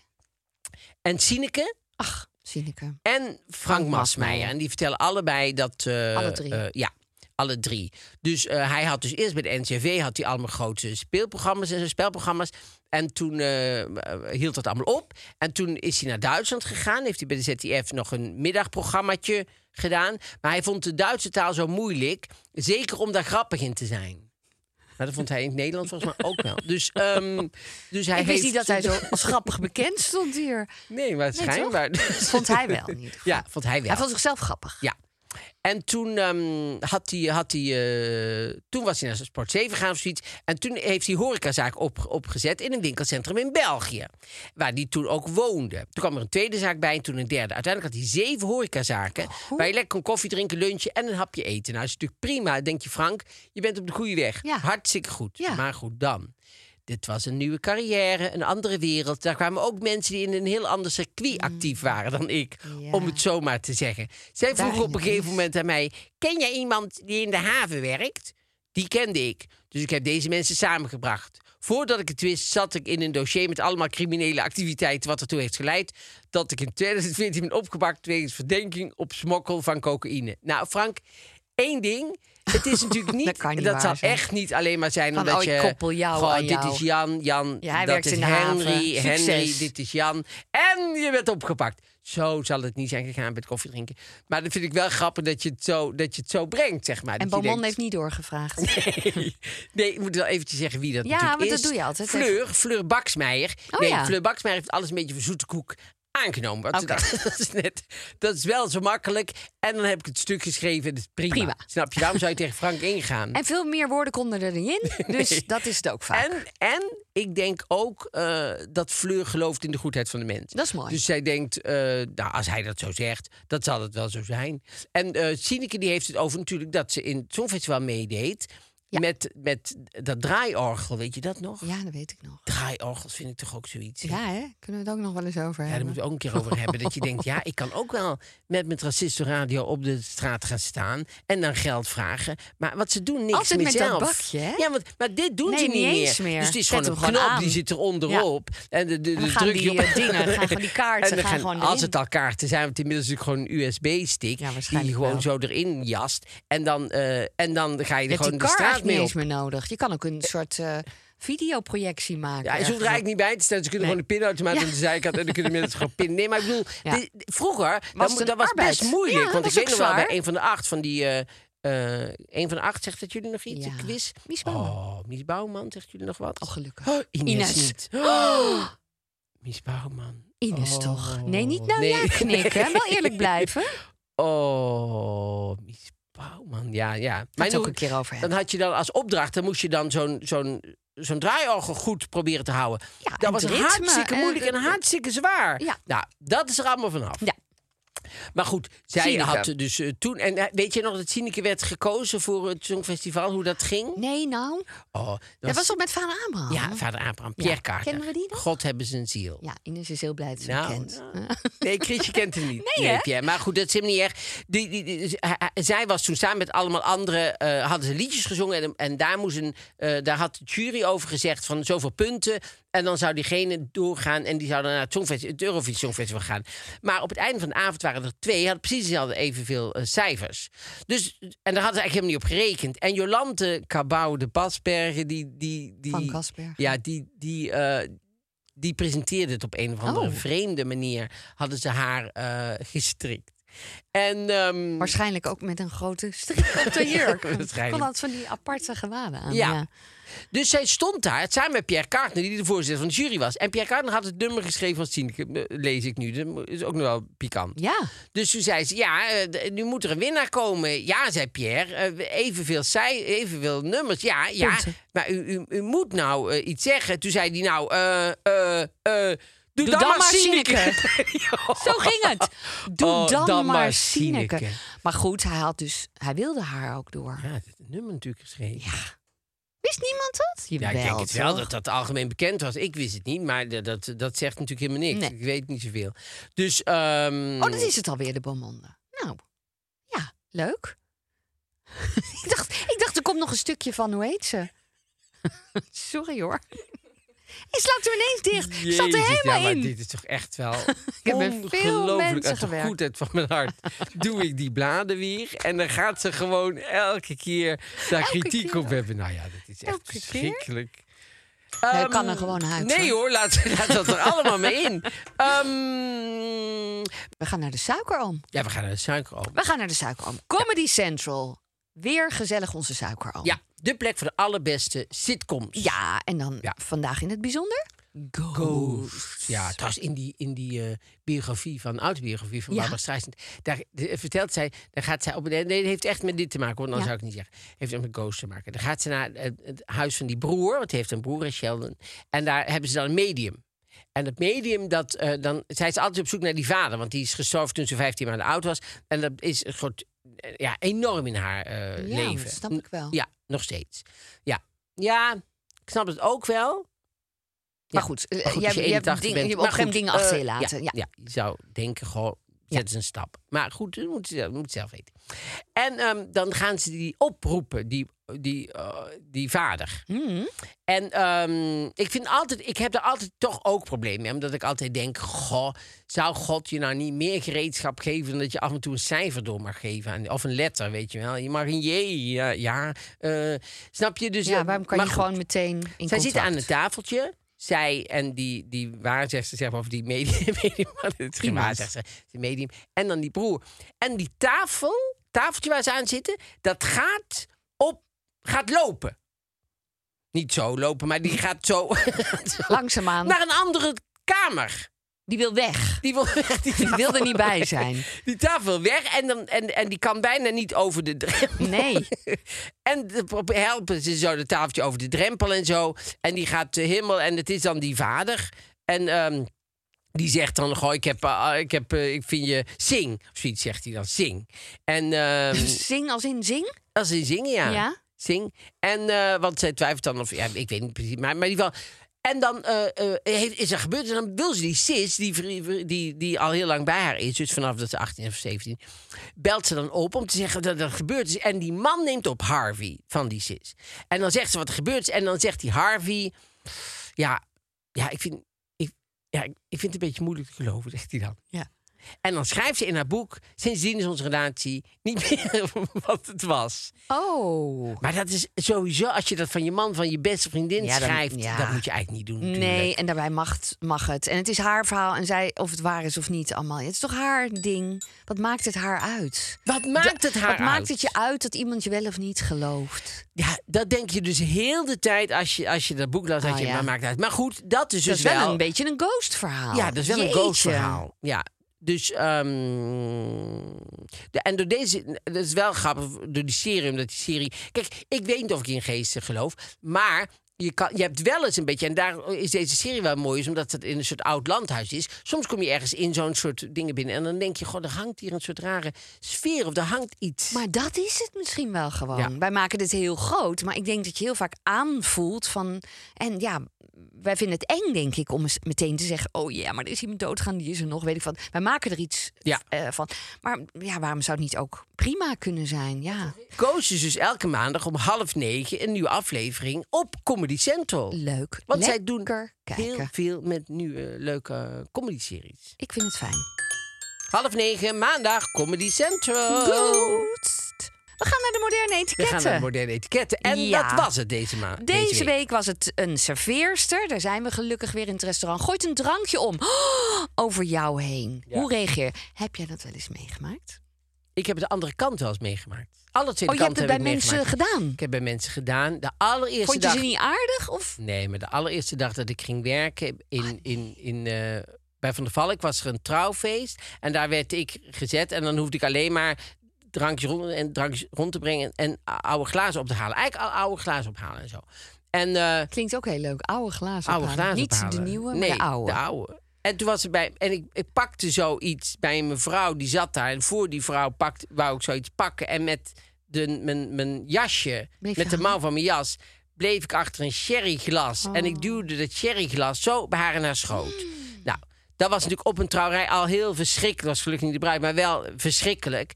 en Sineke
Ach, Sineke.
en Frank, Masmeijer.
Masmeijer.
En die vertellen allebei dat... eh,
Alle drie.
eh, ja, alle drie. Dus eh, hij had dus eerst bij de NCV had hij allemaal grote speelprogramma's en zo, spelprogramma's. En toen eh, eh, hield dat allemaal op. En toen is hij naar Duitsland gegaan. Heeft hij bij de ZTF nog een middagprogrammaatje gedaan. Maar hij vond de Duitse taal zo moeilijk. Zeker om daar grappig in te zijn. Maar dat vond hij in het Nederlands volgens mij ook wel. Dus, ehm, dus hij
ik
heeft
wist niet dat hij zo als grappig bekend stond hier.
Nee, maar
toch?
schijnbaar. dus.
Vond hij wel. in ieder geval.
Ja, vond hij wel.
Hij vond zichzelf grappig.
Ja. En toen, ehm, had hij, had hij, eh, toen was hij naar Sport 7 gegaan of zoiets. En toen heeft hij horecazaak op, opgezet in een winkelcentrum in België. Waar hij toen ook woonde. Toen kwam er een tweede zaak bij en toen een derde. Uiteindelijk had hij zeven horecazaken.
Oh,
Waar je lekker kon koffie drinken, lunchen en een hapje eten. Nou, dat is natuurlijk prima. Dan denk je, Frank, je bent op de goede weg.
Ja.
Hartstikke goed.
Ja.
Maar goed, dan. Dit was een nieuwe carrière, een andere wereld. Daar kwamen ook mensen die in een heel ander circuit
Mm.
actief waren dan ik. Om het zomaar te zeggen. Zij
Daar
vroeg op
ging
een
het
gegeven
mis.
moment aan mij: Ken jij iemand die in de haven werkt? Die kende ik. Dus ik heb deze mensen samengebracht. Voordat ik het wist, zat ik in een dossier met allemaal criminele activiteiten. Wat ertoe heeft geleid dat ik in 2014 ben opgepakt wegens verdenking op smokkel van cocaïne. Nou, Frank, één ding. Het is natuurlijk niet.
Dat kan niet waar
zal
zijn.
echt niet alleen maar zijn
Van,
omdat
oh, ik
je.
koppel jou
Goh,
aan
dit
jou.
is Jan, Jan.
Ja, hij
dat
werkt
is
in de haven.
Henry, Henry,
Succes.
dit is Jan. En je bent opgepakt. Zo zal het niet zijn gegaan bij het koffiedrinken. Maar dat vind ik wel grappig dat je het zo, dat je het zo brengt, zeg maar.
En
Dat je
Beaumont heeft
denkt-
niet doorgevraagd.
Nee, ik moet wel eventjes zeggen wie dat
Ja,
natuurlijk
want dat
is.
doe je altijd.
Fleur, Fleur Baksmeijer.
Oh,
nee,
ja.
Fleur Baksmeijer heeft alles een beetje voor zoete koek aangenomen. Want ze
Oké.
dacht, dat, is net, dat is wel zo makkelijk. En dan heb ik het stuk geschreven en dat is prima.
Prima.
Snap je? Waarom zou je tegen Frank ingaan?
En veel meer woorden konden er niet in. Dus dat is het ook vaak.
En, en ik denk ook eh, dat Fleur gelooft in de goedheid van de mens.
Dat is mooi.
Dus zij denkt, eh, nou, als hij dat zo zegt, dat zal het wel zo zijn. En eh Sineke die heeft het over natuurlijk dat ze in het Songfestival meedeed.
Ja.
Met, met dat draaiorgel, weet je dat nog?
Ja, dat weet ik nog.
Draaiorgels vind ik toch ook zoiets. hè?
Ja, hè? Kunnen we het ook nog wel eens over
Ja, daar
hebben?
moeten we ook een keer over hebben. Dat je denkt, ja, ik kan ook wel met mijn transistorradio op de straat gaan staan. En dan geld vragen. Maar wat ze doen, niks
Altijd
meer
met dat
zelf.
bakje, hè?
Ja, want, maar dit doen
Nee,
ze niet,
niet eens meer.
Dus het is
Zet
gewoon een
hem
knop,
gewoon
die
aan.
zit er onderop. En de, de,
dan
de
gaan
druk je
die,
op-
eh, dingen, gaan gewoon die kaarten
En dan
gaan gewoon
Als
erin.
het al kaarten zijn, want inmiddels is het gewoon een USB-stick.
Ja,
die je
waarschijnlijk
gewoon
wel.
zo erin jast. En dan, eh, en dan ga je er
Je hebt die
gewoon de
car
straat
eigenlijk niet
mee op.
eens meer nodig. Je kan ook een soort eh, videoprojectie maken.
Ja, ze hoeft er
ergens.
eigenlijk niet bij te staan. Ze kunnen
Nee.
gewoon de pinautomaat
Ja.
aan de zijkant en dan kunnen mensen gewoon pinnen. Nee, maar ik bedoel,
Ja.
dit- vroeger
het
dat,
een
dat was
arbeid?
best moeilijk.
Ja,
want ik
was
weet
ook
nog wel bij
zwaar.
een van de acht van die. eh eh, een van de acht zegt dat jullie nog iets?
Ja.
Een quiz?
Mies Bouwman.
Oh, Mies Bouwman, zegt jullie nog wat?
Oh, gelukkig.
Oh, Ines,
Ines.
niet. Mies Bouwman.
Ines
Oh.
toch? Nee, niet nou
Nee.
ja knikken. Wel eerlijk
Nee.
blijven.
Oh, Mies Bouwman. Ja, ja.
Maar het
nu-
ook een keer over
dan
hebben.
had je dan als opdracht, dan moest je dan zo'n zo'n zo'n draaiorgel goed proberen te houden.
Ja,
dat
en
was
het ritme
hartstikke
en-
moeilijk en hartstikke zwaar.
Ja.
Nou, dat is er allemaal vanaf.
Ja.
Maar goed, zij
Sineke.
had dus eh, toen... En eh, weet je nog dat Sineke werd gekozen voor het Songfestival? Hoe dat ging?
Nee, nou.
Oh, dat
Dat was toch met Van Abraham?
Ja, vader Abraham, Pierre Carter.
Kennen we die nog?
God hebben zijn ziel.
Ja, Ines is heel blij dat ze hem
Nou,
kent. Eh,
nou. Nee, Chrisje kent hem niet.
Nee, hè?
Pierre. Maar goed, dat is hem niet erg. Die, die, die- z- hij- hij- zij was toen samen met allemaal anderen... eh, hadden ze liedjes gezongen. En, en daar, moest een, eh, daar had de jury over gezegd van zoveel punten. En dan zou diegene doorgaan. En die zou dan naar het, Songfestival- het Eurovisie Songfestival gaan. Maar op het einde van de avond waren er twee. Hadden precies dezelfde evenveel eh, cijfers. Dus, en daar hadden ze eigenlijk helemaal niet op gerekend. En Jolante Cabau de Basbergen... Die, die, die,
Van Kasper.
ja, die, die, eh, die presenteerde het op een of andere
Oh.
vreemde manier. Hadden ze haar eh, gestrikt. En ehm,
Waarschijnlijk ook met een grote strik op de jurk.
Waarschijnlijk.
Kon altijd van die aparte gewaden aan.
Ja.
Ja.
dus zij stond daar samen met Pierre Carter, die de voorzitter van de jury was. En Pierre Carter had het nummer geschreven van Sineke, eh, lees ik nu. Dat is ook nog wel pikant.
Ja.
Dus toen zei ze, ja, eh, d- nu moet er een winnaar komen. Ja, zei Pierre, eh, evenveel, zij, evenveel nummers. Ja, ja,
Punten.
maar u, u, u moet nou eh, iets zeggen. Toen zei hij, nou, eh, eh, eh, Doe, dan, maar Sineke.
Zo ging het. Doe
Oh,
dan, maar Sineke. Maar goed, hij, had dus, hij wilde haar ook door.
Ja, het nummer natuurlijk geschreven.
Wist niemand dat?
Ja, ik denk het wel
toch?
dat dat algemeen bekend was. Ik wist het niet, maar dat, dat, dat zegt natuurlijk helemaal niks.
Nee.
Ik weet niet zoveel. Dus, ehm
Oh, dat is het alweer, de Beaumonde. Nou, ja, leuk. ik, dacht, ik dacht, er komt nog een stukje van, hoe heet ze? Sorry hoor. Hij slaat er ineens dicht. Ik zat er
Jezus,
helemaal
ja, maar
in.
Dit is toch echt wel
heb met veel
ongelooflijk
mensen
uit de
gewerkt.
goedheid van mijn hart. Doe ik die bladen weer en dan gaat ze gewoon elke keer daar
Elke
kritiek
keer
op hebben. Nou ja, dat is echt
Elke keer?
verschrikkelijk.
Nee,
Ehm,
kan er gewoon uit,
Nee
hoor.
hoor, laat, laat dat er allemaal mee in. Ehm,
We gaan naar de suikeroom.
ja, we gaan naar de suikeroom.
We gaan naar de suikeroom. Comedy Central. Weer gezellig onze suikeroom.
Ja, de plek voor de allerbeste sitcoms.
Ja, en dan
Ja.
vandaag in het bijzonder.
Ghost. Ja, trouwens, in die, in die eh, biografie van, autobiografie van
Ja.
Barbara Streisand, daar eh, vertelt zij, daar gaat zij op, nee, nee, het heeft echt met dit te maken, hoor, dan
Ja.
zou ik het niet zeggen. Heeft echt met Ghost te maken. Dan gaat ze naar eh, het huis van die broer, want die heeft een broer, hè, Sheldon, en daar hebben ze dan een medium. En dat medium, dat, eh, dan, zij is altijd op zoek naar die vader, want die is gestorven toen ze 15 maanden oud was. En dat is een soort, eh, ja, enorm in haar eh,
Ja,
leven.
dat snap ik wel.
Ja, nog steeds. Ja, ja ik snap het ook wel.
Maar
Ja.
goed,
Maar
eh,
goed,
jij,
als je
jij hebt
81
ding-
bent-
je hebt
maar
op geen
goed,
dingen achter je
eh,
laten. Ja,
Ja, je zou denken, gewoon, zet eens een stap. Maar goed, dat moet je zelf, moet je zelf weten. En ehm, dan gaan ze die oproepen, die, die, eh, die vader.
Hmm.
En ehm, ik vind altijd, ik heb er altijd toch ook problemen mee. Omdat ik altijd denk, goh, zou God je nou niet meer gereedschap geven... dan dat je af en toe een cijfer door mag geven? aan- Of een letter, weet je wel. Je mag een J, ja. ja eh, snap je? Dus,
Ja,
eh,
waarom kan
maar
je
goed.
gewoon meteen in
Zij
contact?
zitten aan een tafeltje. Zij en die, die waarzegster, zeg maar, of die medium. medium het is geen
Iemand.
waarzegster, het is een medium. En dan die broer. En die tafel, tafeltje waar ze aan zitten, dat gaat, op, gaat lopen. Niet zo lopen, maar die gaat zo
Langzaamaan.
naar een andere kamer.
die wil weg.
Die wil, die
Die wil er niet bij zijn.
Die tafel weg en, dan, en, en die kan bijna niet over de drempel.
Nee.
En de- pro- helpen ze zo de tafeltje over de drempel en zo. En die gaat de hemel en het is dan die vader. En ehm, die zegt dan, goh, ik, heb, eh, ik, heb, eh, ik vind je zing. Of zoiets zegt hij dan, zing. En ehm,
Zing als in zing?
als ze zingen, ja.
Ja.
Zing. En, eh, want zij twijfelt dan of... Ja, ik weet niet precies, maar, maar in ieder geval... En dan eh, eh, heeft, is er gebeurd en dan wil ze die sis, die, vri- die, die al heel lang bij haar is... dus vanaf dat ze 18 of 17... belt ze dan op om te zeggen dat er gebeurd is. En die man neemt op Harvey van die sis. En dan zegt ze wat er gebeurd is en dan zegt die Harvey... Ja, ja, ik, vind, ik, ja ik vind het een beetje moeilijk te geloven, zegt hij dan.
Ja.
En dan schrijft ze in haar boek... sindsdien is onze relatie niet meer wat het was.
Oh.
Maar dat is sowieso, als je dat van je man, van je beste vriendin
Ja, dan-
schrijft,
ja.
dat moet je eigenlijk niet doen.
Nee,
natuurlijk.
en daarbij mag, het- mag het. En het is haar verhaal en zij, of het waar is of niet, allemaal. Het is toch haar ding? Wat maakt het haar uit?
Wat maakt het haar
Wat
uit? Dus
maakt het je uit dat iemand je wel of niet gelooft?
Ja, dat denk je dus heel de tijd als je, als je dat boek las, dat
Ah,
je
ja.
maar maakt uit. Maar goed, dat is
Dat
dus
is wel, een beetje een ghost verhaal.
Ja, dat is wel
Jeetje.
een ghost verhaal. Ja, dus ehm, de, en door deze, dat is wel grappig door die serie, omdat die serie. Kijk, ik weet niet of ik in geesten geloof, maar je, kan, je hebt wel eens een beetje, en daar is deze serie wel mooi, is omdat het in een soort oud landhuis is. Soms kom je ergens in zo'n soort dingen binnen en dan denk je, goh, er hangt hier een soort rare sfeer of er hangt iets.
Maar dat is het misschien wel gewoon.
Ja.
Wij maken dit heel groot, maar ik denk dat je heel vaak aanvoelt van... En ja, wij vinden het eng, denk ik, om eens meteen te zeggen... oh ja, maar er is iemand doodgaan, die is er nog, weet ik van. Wij maken er iets
Ja.
eh, van. Maar ja, waarom zou het niet ook prima kunnen zijn? Ja,
Koos is dus elke maandag om half negen een nieuwe aflevering op Comedy Central.
leuk.
Want zij
Lekker
doen heel
kijken.
veel met nieuwe leuke comedy-series.
Ik vind het fijn.
Half negen, maandag, Comedy Central.
Ghost. We gaan naar de moderne
We gaan
etiketten.
naar moderne etiketten. En
Ja.
dat was het deze maand.
Deze, week. was het een serveerster. Daar zijn we gelukkig weer in het restaurant. Gooit een drankje om. Oh, over jou heen. Hoe reageer je? Heb jij dat wel eens meegemaakt?
Ik heb de andere kant wel eens meegemaakt. Alle twee
Oh, je hebt
kanten
het
heb
bij
ik
mensen
meegemaakt.
gedaan.
Ik heb bij mensen gedaan. De allereerste
Vond je
dag...
ze niet aardig? Of?
Nee, maar de allereerste dag dat ik ging werken in, in, in, eh, bij Van der Valk was er een trouwfeest. En daar werd ik gezet. En dan hoefde ik alleen maar drankjes rond, en drankjes rond te brengen en oude glazen op te halen. Eigenlijk al oude glazen ophalen en zo. En eh,
Klinkt ook heel leuk. Oude glazen.
oude
ophalen.
glazen
Niet
ophalen.
de nieuwe,
nee,
maar de oude.
de oude. En toen was het bij. En ik, ik pakte zoiets bij een mevrouw die zat daar. En voor die vrouw pakt, wou ik zoiets pakken. En met de, mijn, mijn jasje,
Bleef je
met de
hangen?
mouw van mijn jas, bleef ik achter een sherryglas. En
Oh.
ik duwde dat sherryglas zo bij haar in haar schoot.
Hmm.
Nou, dat was natuurlijk op een trouwerij al heel verschrikkelijk. Was gelukkig niet de bruid, maar wel verschrikkelijk.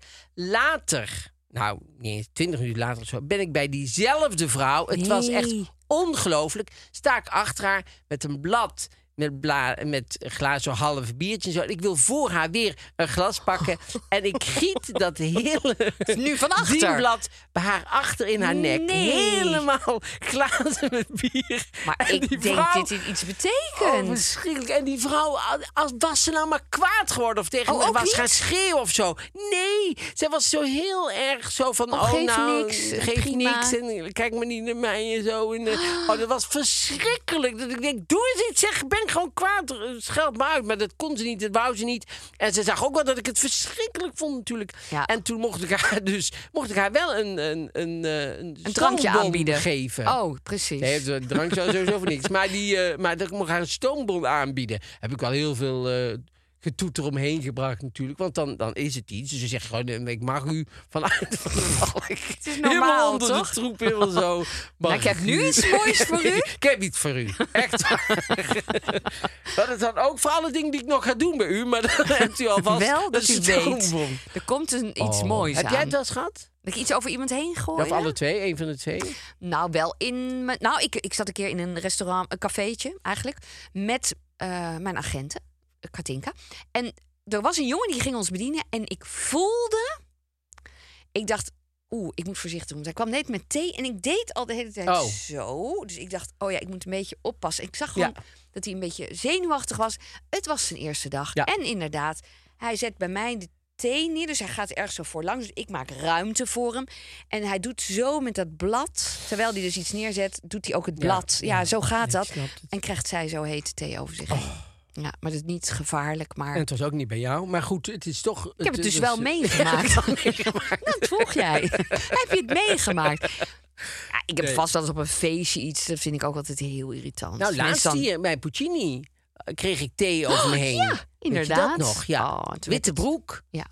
Later, nou, niet eens 20 minuten later of zo, ben ik bij diezelfde vrouw. Nou, Het was echt
Nee.
ongelooflijk. Sta ik achter haar met een blad. Met, bla, met glazen half biertje en zo. En Ik wil voor haar weer een glas pakken. En ik giet dat hele
Oh. nu van achter.
dienblad bij haar achter in haar nek.
Nee.
Helemaal glazen met bier.
Maar
En
ik
die
denk
vrouw-
dat dit iets
Oh,
betekent.
verschrikkelijk. En die vrouw, als was ze nou maar kwaad geworden of tegen
Oh,
me
ook
was
niet?
gaan schreeuwen of zo. Nee, zij was zo heel erg zo van,
Oh,
oh,
geef
nou,
niks, eh,
geef
prima.
niks en kijk maar niet naar mij en zo. En, eh, oh, dat was verschrikkelijk. Dat ik denk, doe eens iets, zeg, ik ben gewoon kwaad, eh, scheld me uit. Maar dat kon ze niet, dat wou ze niet. En ze zag ook wel dat ik het verschrikkelijk vond natuurlijk.
Ja.
En toen mocht ik haar dus, mocht ik haar wel een, een, een, eh, een,
Een drankje
stoombom
aanbieden.
geven.
Oh, precies.
Nee, het drank zou sowieso voor niks. Maar, die, eh, maar dat ik mocht haar een stoombron aanbieden. Heb ik wel heel veel eh getoeter omheen gebracht natuurlijk. Want dan, dan is het iets. Dus je zegt gewoon, eh, ik mag u vanuit van de balk. Het
is normaal,
Helemaal onder
toch? Nou,
de troep, helemaal zo. Maar
ik heb nu iets moois voor u.
ik heb iets voor u. Echt waar. dat is dan ook voor alle dingen die ik nog ga doen bij u. Maar dan hebt u alvast
Wel dat
een
u weet.
stoombron.
Er komt een, iets
Oh.
moois
Heb
aan.
jij het wel eens gehad?
Dat ik iets over iemand heen gooi.
Of alle twee, één van de twee?
Nou, wel in mijn. Nou, ik, ik zat een keer in een restaurant, een cafeetje eigenlijk, met eh, mijn agenten, eh, Katinka. En er was een jongen die ging ons bedienen en ik voelde. Ik dacht, oeh, ik moet voorzichtig doen. Hij kwam net met thee en ik deed al de hele tijd
Oh.
zo. Dus ik dacht, oh ja, ik moet een beetje oppassen. Ik zag gewoon
Ja.
dat hij een beetje zenuwachtig was. Het was zijn eerste dag.
Ja.
En inderdaad, hij zet bij mij de thee neer. Dus hij gaat ergens zo voor langs. Dus ik maak ruimte voor hem. En hij doet zo met dat blad. Terwijl hij dus iets neerzet, doet hij ook het blad. Ja, zo gaat dat. En krijgt zij zo hete thee over zich heen. Ja, maar dat is niet gevaarlijk. Maar
En Oh. het was ook niet bij jou. Maar goed, het is toch...
ik heb het dus wel meegemaakt. Dat vroeg jij. heb je het meegemaakt? Ja, ik heb
Nee.
vast wel eens op een feestje iets. Dat vind ik ook altijd heel irritant.
Nou,
Dus Mensen
laatst
dan- Oh,
hier bij Puccini eh, kreeg ik thee over me heen. Weet je
inderdaad.
dat nog, ja.
Oh, het werd-
Witte broek.
Ja.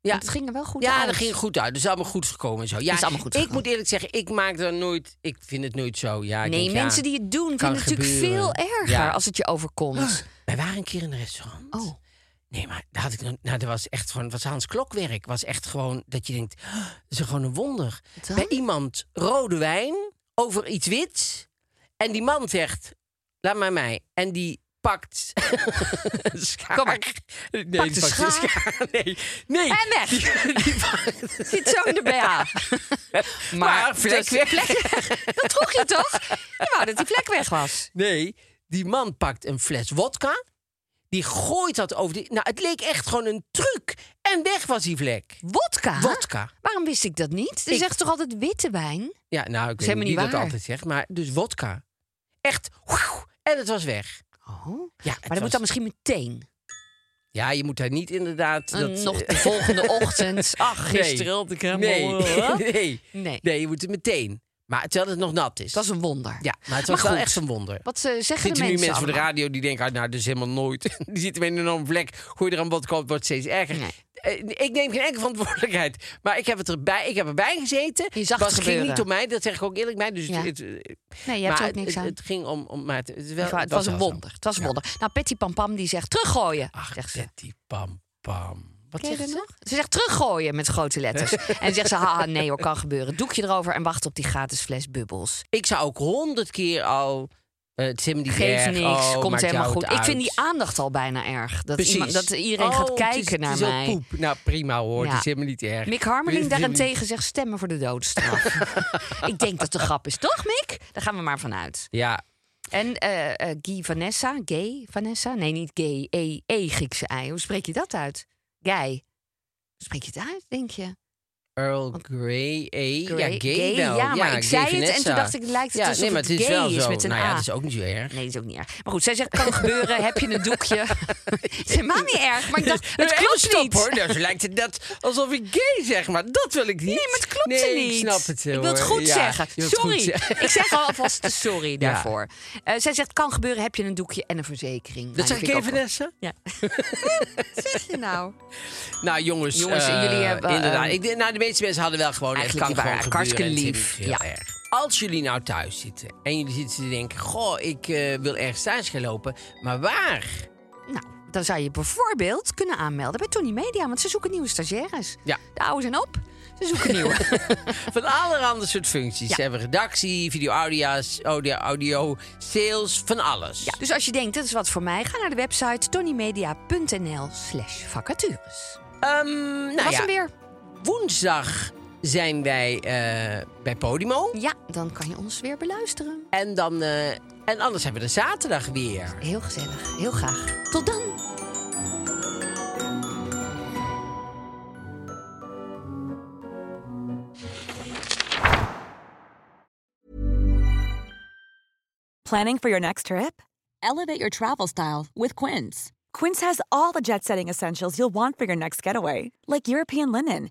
Ja,
Het ging er wel goed
ja
uit.
dat ging goed uit. Dus allemaal goed gekomen en zo. Ja,
Is allemaal goed
ik
gekomen.
moet eerlijk zeggen, ik maak daar nooit... Ik vind het nooit zo. Ja, ik
Nee,
denk, ja,
mensen die het doen vinden
kan
het natuurlijk
gebeuren.
veel erger
Ja.
als het je overkomt.
Wij waren een keer in een restaurant.
Oh.
Nee, maar daar had ik nog- nou, dat was echt gewoon, was Hans Klokwerk. Was echt gewoon dat je denkt, "Oh, dat is gewoon een wonder.
dan?
Bij iemand rode wijn over iets wits. En die man zegt, laat maar mij. En die pakt een schaar.
Kom maar.
Nee,
Pak
die
de
pakt een
schaar.
schaar. Nee, nee.
En weg.
Die, die pakt-
Zit zo in de BH. Maar,
Maar
vlek,
vlek
vlek, Dat droeg je toch? Je wou dat die vlek weg was.
Nee, die man pakt een fles wodka. Die gooit dat over. Die, nou, het leek echt gewoon een truc. En weg was die vlek.
Wodka?
Wodka.
Waarom wist ik dat niet? Ze
Ik-
zegt toch altijd witte wijn?
Ja, nou, ik
is
weet
helemaal
niet
niet
wie dat
waar.
altijd zegt, maar dus wodka. Echt, wauw, en het was weg.
Oh. Maar
Ja, het
dat
was-
moet dan misschien meteen.
Ja, je moet daar niet inderdaad...
En
dat- eh,
Nog de volgende ochtend. Ach,
Nee.
gisteren had ik helemaal...
nee.
eh,
nee,
nee.
nee, je moet het meteen. Maar terwijl het nog nat is.
Dat is een wonder.
Ja, maar het
Maar
was wel
goed.
echt zo'n wonder.
Wat eh, zeggen de
Zitten
mensen
nu mensen voor de
allemaal?
radio die denken, ah, nou, dat is helemaal nooit. Die zitten met een enorme vlek, gooi er een wodka op, het wordt steeds erger.
Nee.
Eh, Ik neem geen enkele verantwoordelijkheid. Maar ik heb, het erbij, ik heb erbij gezeten.
Je zag het
was, ging
gebeuren.
niet om mij, dat zeg ik ook eerlijk bij. Dus
Ja.
het, het-
Nee, je hebt
maar
er ook niks
het,
aan.
het ging om... om maar het, het is wel-
Echt waar, het was een
wel zo.
wonder. Het was een wonder. Nou, Petty Pampam die zegt teruggooien.
Ach,
zegt ze.
Betty Pam Pam. Wat
Ken je
zegt
dat
ze?
nog? Ze zegt teruggooien met grote letters. en dan zegt ze, haha, nee hoor, kan gebeuren. Doekje erover en wacht op die gratis fles bubbels.
Ik zou ook honderd keer al... eh het zit me niet
Geef
erg.
niks,
Oh,
komt
maakt
helemaal
jou
goed.
het
Ik
uit.
vind die aandacht al bijna erg. Dat,
Precies.
iemand, dat iedereen
Oh,
gaat
het is-
kijken naar
het is al
mij.
poep. Nou, prima hoor.
Ja.
Het is helemaal niet erg.
Mick Harmeling
Het is helemaal
daarentegen zegt stemmen voor de doodstraf. ik denk dat de grap is, toch Mick? Daar gaan we maar vanuit.
niet- Ja,
En eh eh Guy Vanessa, gay Vanessa? Nee, niet gay, E, E Griekse ei. Hoe spreek je dat uit? Guy. Hoe spreek je het uit, denk je?
Earl Grey, E.
Grey-
ja, gay,
gay,
wel.
ja, maar ik zei het en
Vanessa.
toen dacht ik, het lijkt het
ja,
alsof
nee, maar
het
is
gay
wel
is
zo.
met een
nou
A.
ja, dat is ook niet zo erg.
Nee, dat is ook niet erg. Maar goed, zij zegt, kan gebeuren, heb je een doekje. Het is helemaal niet erg, maar ik dacht,
Nee,
het
even
klopt
stop,
niet.
hoor. Nou, zo lijkt het net alsof ik gay zeg, maar dat wil ik niet.
Nee, maar het klopt
nee,
niet.
ik snap het heel
Ik wil het goed zeggen. Sorry. ik zeg alvast de sorry daarvoor. Eh, zij zegt, kan gebeuren, heb je een doekje en een verzekering. Nou,
Dat zeg ik
vind
even,
ook wel-
Vanessa?
Ja. Wat zeg je nou?
Nou, jongens.
Jongens,
eh,
jullie hebben,
Inderdaad.
ehm,
Ik, denk- nou, de meeste mensen hadden wel gewoon. Het
Eigenlijk
kan
niet waar.
gewoon gebeuren.
Hartstikke
en het is
lief.
niet heel
Ja.
erg. Als jullie nou thuis zitten en jullie zitten te denken: Goh, ik eh, wil ergens thuis gaan lopen, maar waar?
Nou, dan zou je bijvoorbeeld kunnen aanmelden bij Tony Media, want ze zoeken nieuwe stagiaires.
Ja.
De oude zijn op, ze zoeken nieuwe.
Van allerhande soort functies. Ze hebben redactie, video, audio's, audio, audio, sales, van alles.
ja, dus als je denkt, dat is wat voor mij, ga naar de website tonymedia.nl slash vacatures.
Ehm, nou
was
ja,
hem weer.
Woensdag zijn wij eh, bij Podimo.
Ja, dan kan je ons weer beluisteren.
En, dan, eh, en anders hebben we de zaterdag weer.
Heel gezellig, heel graag. Tot dan!
Planning for your next trip? Elevate your travel style with Quince. Quince has all the jet setting essentials you'll want for your next getaway, like European linen,